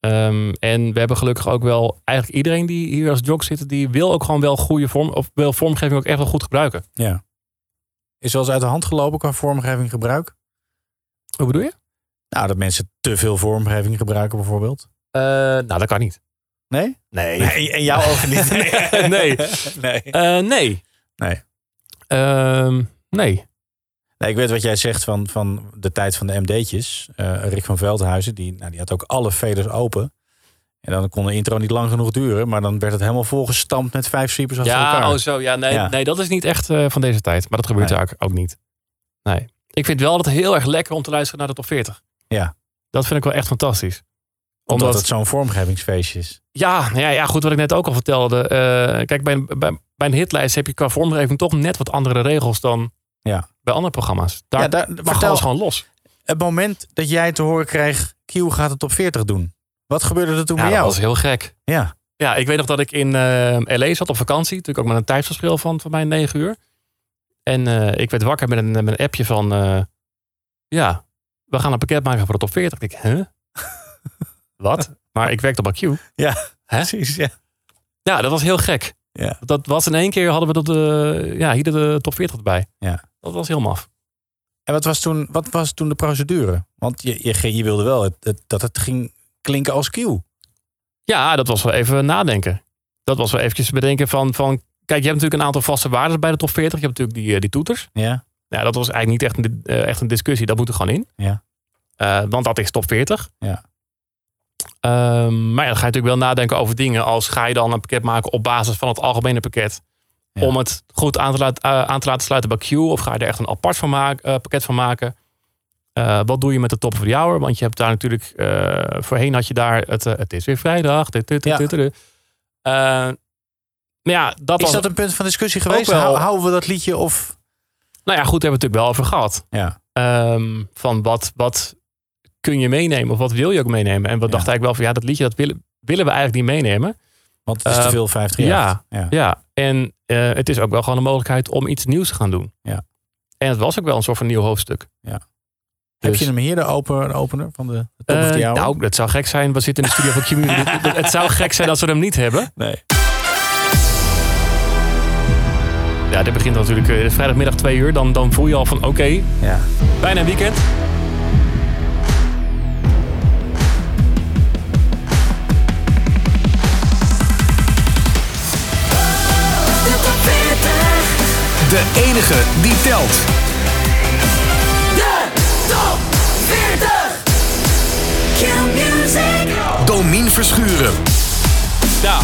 Ehm, en we hebben gelukkig ook wel eigenlijk iedereen die hier als jog zit, die wil ook gewoon wel goede vorm of wil vormgeving ook echt wel goed gebruiken. Ja. Is wel eens uit de hand gelopen qua vormgeving gebruik? Hoe bedoel je? Nou, dat mensen te veel vormgeving gebruiken bijvoorbeeld. Eh, nou, dat kan niet. Nee? Nee. Nee, en jouw ogen niet. nee. <laughs> Nee. Eh, nee. Ehm, Nee. nee. Nou, Ik weet wat jij zegt van, van de tijd van de MD'tjes. Eh, Rick van Veldhuizen, die, nou, die had ook alle faders open. En dan kon de intro niet lang genoeg duren. Maar dan werd het helemaal volgestampt met vijf sweepers achter elkaar. Ja, oh zo. Ja, nee, Ja. nee, dat is niet echt eh, van deze tijd. Maar dat gebeurt Nee. eigenlijk ook niet. Nee. Ik vind wel dat heel erg lekker om te luisteren naar de top 40. Ja, Dat vind ik wel echt fantastisch. omdat, Omdat- het zo'n vormgevingsfeestje is. Ja, nou ja, ja goed, wat ik net ook al vertelde. Eh, kijk, bij een, bij, bij een hitlijst heb je qua vormgeving toch net wat andere regels dan Ja. bij andere programma's. Daar, Ja, daar- mag vertel- alles gewoon los. Het moment dat jij te horen kreeg, Q gaat het op 40 doen. Wat gebeurde er toen bij ja, jou? dat was heel gek. Ja, Ja, ik weet nog dat ik in eh L.A. zat op vakantie. Natuurlijk ook met een tijdsverschil van, van mij 9 uur. En eh, ik werd wakker met een, met een appje van... eh, ja, we gaan een pakket maken voor de top 40. Ik denk, huh? <laughs> Wat? Maar ik werkte op AQ. ja precies. Ja. Ja, dat was heel gek. Ja. Dat was in één keer hadden we dat, eh, ja, hier de top 40 erbij. Ja. Dat was heel maf. En wat was toen, wat was toen de procedure? Want je, je, ging- je wilde wel het, het- dat het ging klinken als Q. Ja, dat was wel even nadenken. Dat was wel eventjes bedenken van, van... Kijk, je hebt natuurlijk een aantal vaste waarden bij de top 40. Je hebt natuurlijk die, eh, die toeters. Ja, Ja, Nou, dat was eigenlijk niet echt een, di- eh, echt een discussie. Dat moet er gewoon in. ja, Eh, want dat is top 40. ja. Ehm, maar ja, dan ga je natuurlijk wel nadenken over dingen als ga je dan een pakket maken op basis van het algemene pakket. Om het goed aan te, laten, eh, aan te laten sluiten bij Q. Of ga je er echt een apart van maken, eh, pakket van maken. Eh, wat doe je met de top voor de hour? Want je hebt daar natuurlijk, eh, voorheen had je daar het, eh, het is weer vrijdag. Dit, dit, dit, Ja. dit, dit. Eh, maar ja, dat is was, dat een punt van discussie Ook geweest? wel. Hou- Houden we dat liedje of... nou ja, goed, daar hebben we het natuurlijk wel over gehad. Ja, Ehm, van wat, wat kun je meenemen of wat wil je ook meenemen? En we dachten eigenlijk wel van ja, dat liedje dat willen, willen we eigenlijk niet meenemen. want het is te Ehm, veel 50 Ja, ja. en eh, het is ook wel gewoon een mogelijkheid om iets nieuws te gaan doen. Ja. En het was ook wel een soort van nieuw hoofdstuk. Heb Dus- je hem hier, de open, de opener van de de top Eh, of the hour? nou, dat zou gek zijn. We zitten in de studio van Q. <laughs> Het- het zou gek zijn als we hem niet hebben. Nee. Ja, dit begint natuurlijk eh, vrijdagmiddag 2 uur. Dan, dan voel je al van oké, Ja. bijna weekend. De enige die telt. De top 40. Q Music. Domien Verschuren. Ja,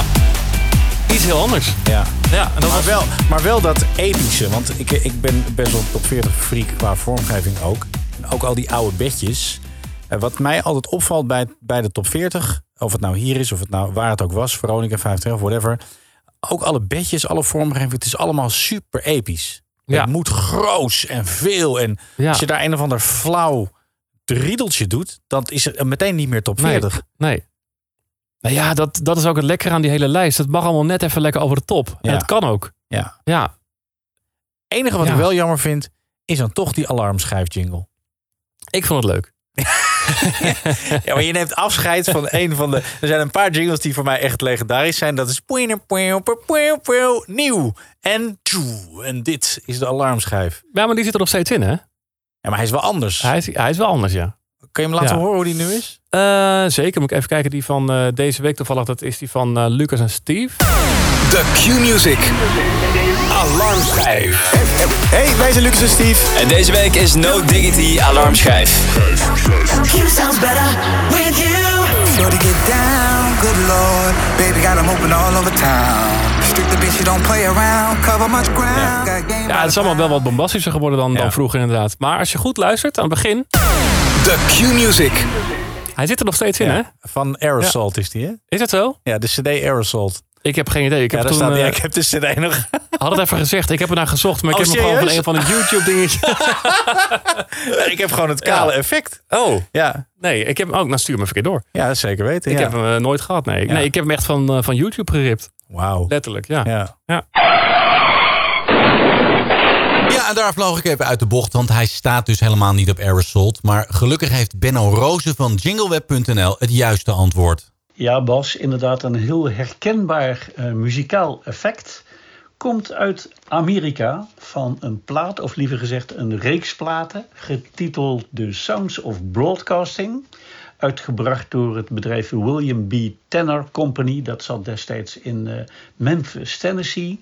iets heel anders. Ja. Ja, en dat Maar wel, maar wel dat epische, want ik, ik ben best wel top 40 freak qua vormgeving ook. En ook al die oude bedjes. Eh, Wat mij altijd opvalt bij, bij de top 40, of het nou hier is, of het nou waar het ook was, Veronica 50 of whatever. Ook alle bedjes, alle vormgeving, het is allemaal super episch. Ja. Het moet groots en veel. En Ja. als je daar een of ander flauw riedeltje doet, dan is het meteen niet meer top 40. Nee. nee. Nou ja, dat, dat is ook het lekkere aan die hele lijst. Het mag allemaal net even lekker over de top. En Ja. het kan ook. Ja. Ja. enige wat Ja. ik wel jammer vind, is dan toch die alarmschijfjingle. Ik vond het leuk. ja, maar je neemt afscheid <laughs> van een van de... Er zijn een paar jingles die voor mij echt legendarisch zijn. Dat is... poeien, poeien, poeien, poeien, Nieuw. En tjoe. En dit is de alarmschijf. Ja, maar die zit er nog steeds in, hè? Ja, maar hij is wel anders. Hij is, hij is wel anders, ja. Kun je hem laten Ja. horen hoe die nu is? Eh, zeker, moet ik even kijken. Die van eh, deze week toevallig, dat is die van eh, Lucas en Steve. De Q-Music. Alarmschijf. Hey, wij zijn Lucas en Steve. En deze week is No Diggity Alarmschijf. Q sounds better with you. Sure to get down, good lord. Baby got 'em open all over town. Strict the bitch, you don't play around. Cover much ground. Got game Ja, het is allemaal wel wat bombastischer geworden dan, dan vroeger inderdaad. Maar als je goed luistert aan het begin... De Q-Music. Hij zit er nog steeds in, hè? Van Aerosol is die, hè? Is dat zo? Ja, de CD Aerosol. Ik heb geen idee. Ik heb ja, daar toen, staat die. eh, ik heb de CD nog. Had het even gezegd. Ik heb ernaar gezocht, maar ik Oh, heb hem gewoon van een serieus? van de YouTube-dingetje. <laughs> ik heb gewoon het kale Ja. effect. <laughs> Oh. Ja. Nee, ik heb hem ook. Nou, stuur me verkeerd door. Ja, dat zeker weten. Ik ja. heb hem eh, nooit gehad, nee. Ik- Ja. Nee, ik heb hem echt van, eh, van YouTube geript. Wauw. Letterlijk, ja. Ja. ja. Ja, en daar vloog ik even uit de bocht, want hij staat dus helemaal niet op Aerosolt. Maar gelukkig heeft Benno Rozen van jingleweb.nl het juiste antwoord. Ja, Bas, inderdaad een heel herkenbaar eh, muzikaal effect. Komt uit Amerika van een plaat, of liever gezegd een reeks platen, getiteld The Sounds of Broadcasting. Uitgebracht door het bedrijf William B. Tanner Company. Dat zat destijds in eh, Memphis, Tennessee.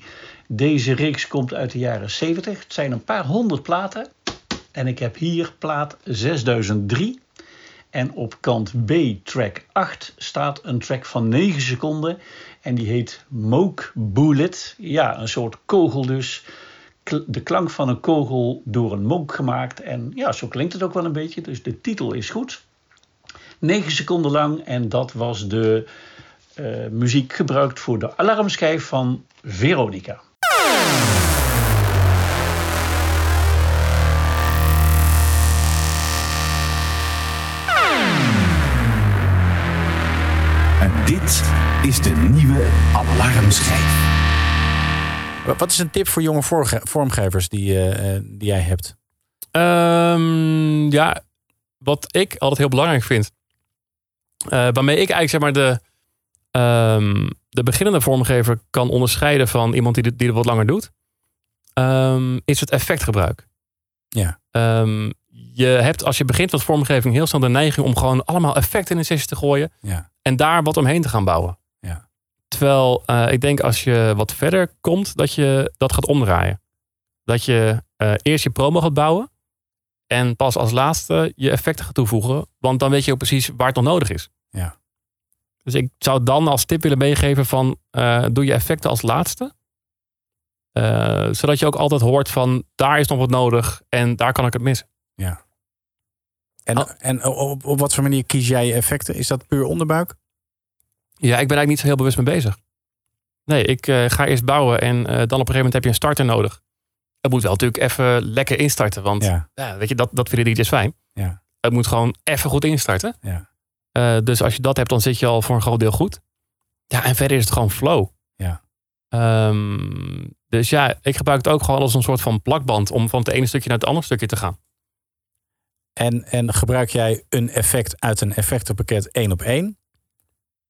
Deze reeks komt uit de jaren 70. Het zijn een paar honderd platen. En ik heb hier plaat 6003. En op kant B, track 8, staat een track van 9 seconden. En die heet Moke Bullet. Ja, een soort kogel dus. Kl- De klank van een kogel door een monk gemaakt. En ja, zo klinkt het ook wel een beetje. Dus de titel is goed. 9 seconden lang. En dat was de eh, muziek gebruikt voor de alarmschijf van Veronica. En dit is de nieuwe alarmschijf. Wat is een tip voor jonge vorge- vormgevers die, eh, eh, die jij hebt? Ehm, ja, wat ik altijd heel belangrijk vind. eh, waarmee ik eigenlijk zeg maar de, ehm, de beginnende vormgever kan onderscheiden van iemand die, dit- die het wat langer doet. ehm, is het effectgebruik. Ja. Ehm, je hebt als je begint met vormgeving heel snel de neiging om gewoon allemaal effecten in een sessie te gooien. Ja. En daar wat omheen te gaan bouwen. Ja. Terwijl eh, ik denk als je wat verder komt, dat je dat gaat omdraaien. Dat je eh, eerst je promo gaat bouwen. En pas als laatste je effecten gaat toevoegen. Want dan weet je ook precies waar het nog nodig is. Ja. Dus ik zou dan als tip willen meegeven van eh, doe je effecten als laatste. Eh, zodat je ook altijd hoort van daar is nog wat nodig en daar kan ik het missen. Ja. En, en op, op wat voor manier kies jij je effecten? Is dat puur onderbuik? Ja, ik ben eigenlijk niet zo heel bewust mee bezig. Nee, ik eh, ga eerst bouwen en eh, dan op een gegeven moment heb je een starter nodig. Het moet wel natuurlijk even lekker instarten, want ja. Ja. weet je, dat, dat vinden DJ's fijn. Ja. Het moet gewoon even goed instarten. Ja. Eh, dus als je dat hebt, dan zit je al voor een groot deel goed. Ja, en verder is het gewoon flow. Ja. Ehm, dus ja, ik gebruik het ook gewoon als een soort van plakband om van het ene stukje naar het andere stukje te gaan. En, en gebruik jij een effect uit een effectenpakket één op één?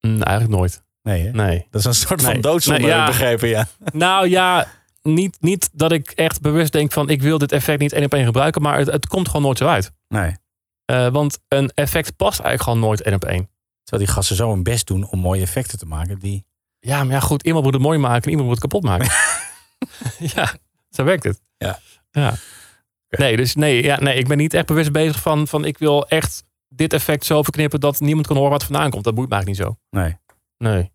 Mm, eigenlijk nooit. Nee, hè? Nee. <laughs> Dat is een soort van Nee. doodzonde, Nee, ja. heb ik begrepen, ja. Nou ja, niet, niet dat ik echt bewust denk van ik wil dit effect niet één op één gebruiken, maar het, het komt gewoon nooit zo uit. Nee. Eh, want een effect past eigenlijk gewoon nooit één op één. Terwijl die gasten zo hun best doen om mooie effecten te maken. Die... Ja, maar ja, goed, iemand moet het mooi maken en iemand moet het kapot <laughs> maken. ja, zo werkt het. Ja. ja. Nee, dus nee, ja, nee, ik ben niet echt bewust bezig van, van ik wil echt dit effect zo verknippen dat niemand kan horen wat het vandaan komt. Dat boeit me eigenlijk niet zo. Nee. Nee.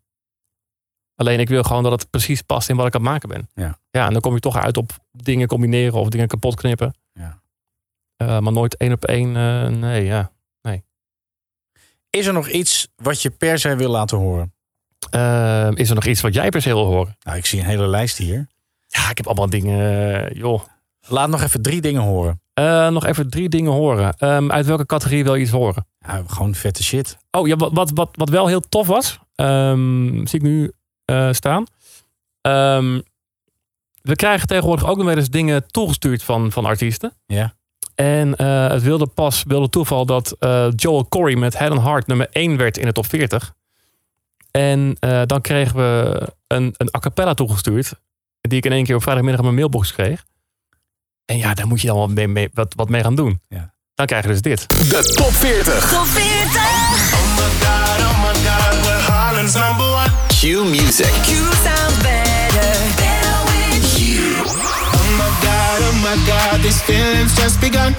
Alleen ik wil gewoon dat het precies past in wat ik aan het maken ben. Ja. Ja, en dan kom je toch uit op dingen combineren of dingen kapot knippen. Ja. Eh, maar nooit één op één. eh, nee, ja. Nee. Is er nog iets wat je per se wil laten horen? Eh, is er nog iets wat jij per se wil horen? Nou, ik zie een hele lijst hier. Ja, ik heb allemaal dingen. eh, joh. Laat nog even drie dingen horen. Eh, nog even drie dingen horen. Ehm, uit welke categorie wil je iets horen? gewoon vette shit. Oh ja, wat, wat, wat, wat wel heel tof was, ehm, zie ik nu eh, staan. Ehm, we krijgen tegenwoordig ook nog wel eens dingen toegestuurd van, van artiesten. Ja. En eh, het wilde pas, wilde toeval dat eh, Joel Corey met Head and Heart nummer 1 werd in de top 40. En eh, dan kregen we een, een a cappella toegestuurd. Die ik in één keer op vrijdagmiddag in mijn mailbox kreeg. En ja, daar moet je dan wat mee, mee- wat, wat mee gaan doen. Dan krijg je dus dit. De top 40. Top 40. Q Music. Q sounds better. Better with you. Oh my god, oh my god, these feelings just begun.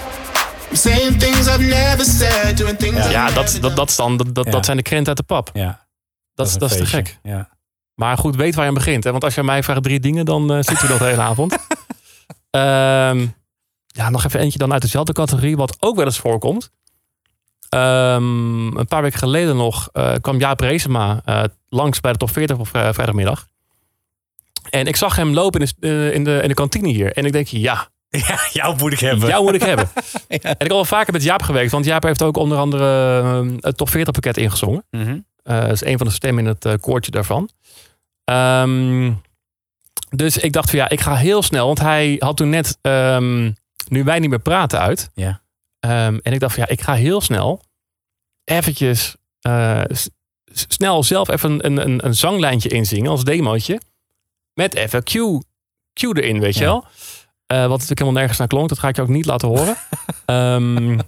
I'm saying things I've never said, doing things Ja, I've never dat, dat, dat, is dan, dat, dat, dat zijn de krenten uit de pap. Ja. Dat, is- een dat is te feestje. gek. Ja. <laughs> Maar goed, weet waar je aan begint. Hè? Want als je aan mij vraagt drie dingen, dan eh, zitten we dat de hele avond. Ehm, ja, nog even eentje dan uit dezelfde categorie, wat ook wel eens voorkomt. Ehm, een paar weken geleden nog eh, kwam Jaap Reesema eh, langs bij de top 40 op eh, vrijdagmiddag. En ik zag hem lopen in de, eh, in, de, in de kantine hier. En ik denk, ja. jou moet ik hebben. Jou moet ik hebben. En ik heb al vaker met Jaap gewerkt. Want Jaap heeft ook onder andere eh, het top 40 pakket ingezongen. Mhm. Eh, dat is een van de stemmen in het eh, koortje daarvan. Ehm, dus ik dacht van ja, ik ga heel snel. Want hij had toen net ehm, Nu wij niet meer praten uit. Ja. Ehm, en ik dacht van ja, ik ga heel snel eventjes eh, s- s- snel zelf even een, een, een zanglijntje inzingen als demootje. Met even Q, Q erin, weet je wel. Eh, wat natuurlijk helemaal nergens naar klonk. Dat ga ik je ook niet laten horen. Ehm,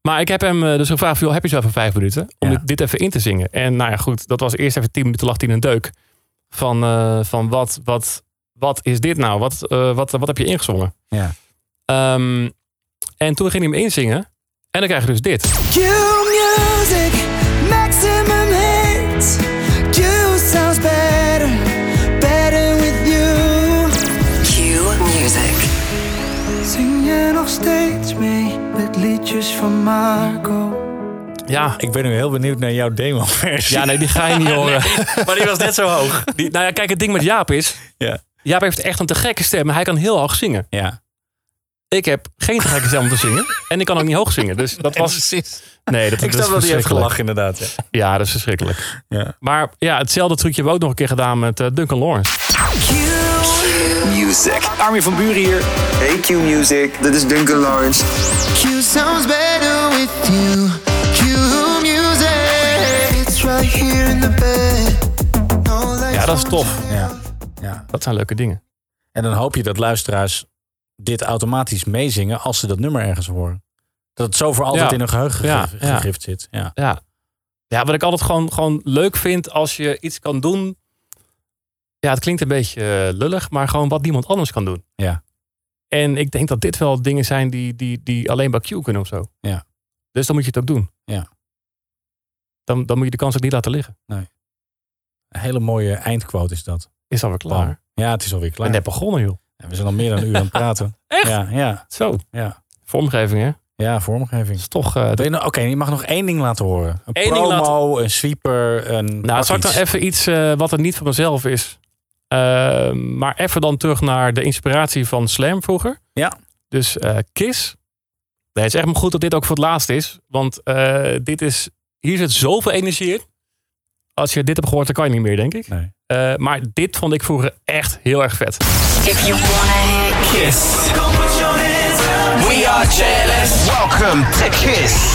maar ik heb hem eh, dus gevraagd, joh, heb je zo even vijf minuten om dit, dit even in te zingen? En nou ja, goed, dat was eerst even tien minuten lag hij in een deuk. Van, eh, van wat, wat, wat is dit nou? Wat, eh, wat, wat heb je ingezongen? Ja. Ehm, en toen ging hij hem inzingen. En dan krijg je dus dit. Q music, maximum hits. Q sounds better, better with you. Q music. Zing je nog steeds mee met liedjes van Marco? Ja. Ik ben nu heel benieuwd naar jouw demo-versie. Ja, nee, die ga je <laughs> niet horen. maar die was net zo hoog. Die- nou ja, kijk, het ding met Jaap is... Jaap heeft echt een te gekke stem. maar Hij kan heel hoog zingen. Ja. Ik heb geen te gekke stem om te zingen. En ik kan ook niet hoog zingen. Dus <laughs> dat was... Nee, dat, dat is ik snap dat hij heeft verschrikkelijk. gelachen inderdaad. Ja. Ja, dat is verschrikkelijk. Maar ja, hetzelfde trucje hebben we ook nog een keer gedaan met eh, Duncan Lawrence. Music. Armin van Buren hier. Hey Q Music, dit is Duncan Lawrence. Q sounds better with you. Q music. It's right here in the bed. No lights Ja, dat is tof. Ja. Ja. Dat zijn leuke dingen. En dan hoop je dat luisteraars dit automatisch meezingen als ze dat nummer ergens horen. Dat het zo voor altijd Ja. in hun geheugen Ja, gegrift, ja. gegrift zit. Ja. Ja. ja, wat ik altijd gewoon, gewoon leuk vind als je iets kan doen. Ja, het klinkt een beetje eh, lullig, maar gewoon wat niemand anders kan doen. Ja. En ik denk dat dit wel dingen zijn die, die, die alleen bij Q kunnen of zo. Ja. Dus dan moet je het ook doen. Ja. Dan, dan moet je de kans ook niet laten liggen. Een hele mooie eindquote is dat. Is alweer klaar. Bam. Ja, het is alweer klaar. En net begonnen, joh. Ja, we zijn al meer dan een uur aan het praten. <laughs> Echt? Ja, ja. Zo. Ja. Vormgeving, hè? Ja, vormgeving. is toch... eh, Wil je nou- Oké, je mag nog één ding laten horen. Een Eén ding promo, laten- een sweeper, een Nou, pak zal ik dan iets. even iets eh, wat er niet van mezelf is. Eh, maar even dan terug naar de inspiratie van Slam vroeger. Ja. Dus eh Kiss. Nee, het is echt maar goed dat dit ook voor het laatst is. Want eh, dit is, hier zit zoveel energie in. Als je dit hebt gehoord, dan kan je niet meer, denk ik. Eh, maar dit vond ik vroeger echt heel erg vet. If you wanna hit kiss. We are jealous. Welcome to Kiss.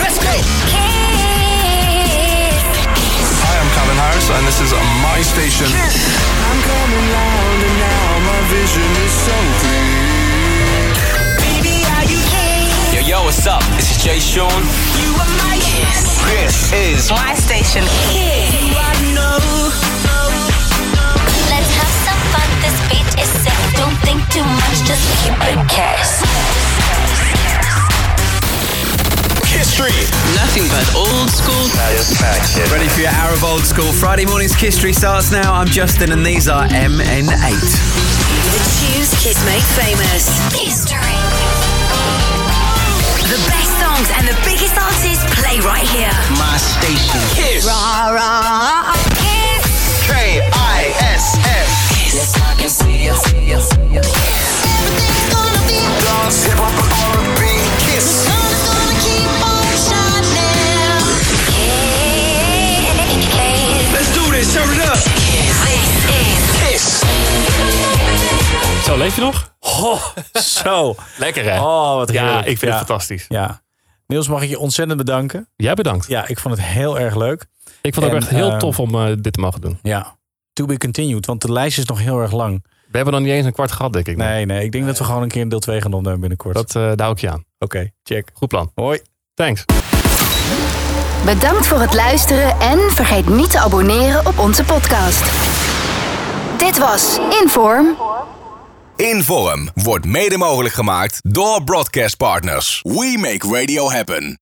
Let's go. Kiss. I am Calvin Harris and this is my station. I'm coming round and now my vision is so clear. Baby, are you kiss? Yo, yo, what's up? This is Jay Sean. You are my kiss. This is My station. Kiss. You are no. Let's have some fun. This beat is sick. Don't think too much. Just keep it History. Nothing but old school. Ready for your hour of old school? Friday morning's History starts now. I'm Justin, and these are MN8. The Q's Kids Make Famous. History. The best songs and the biggest artists play right here. My station. Kiss. Rah, rah. Kiss. K I Leef je nog? Oh, zo. Lekker hè? Oh, wat Ja, heerlijk. ik vind het fantastisch. Ja. Niels, mag ik je ontzettend bedanken. Jij bedankt. Ja, ik vond het heel erg leuk. Ik vond het En, ook echt heel eh, tof om eh, dit te mogen doen. Ja. To be continued, want de lijst is nog heel erg lang. We hebben nog niet eens een kwart gehad, denk ik. Nee, nee. Ik denk dat we gewoon een keer een deel 2 gaan opnemen binnenkort. Dat, eh daar hou ik je aan. Oké, check. Goed plan. Hoi. Thanks. Bedankt voor het luisteren en vergeet niet te abonneren op onze podcast. Dit was Inform. Inform wordt mede mogelijk gemaakt door broadcastpartners. We make radio happen.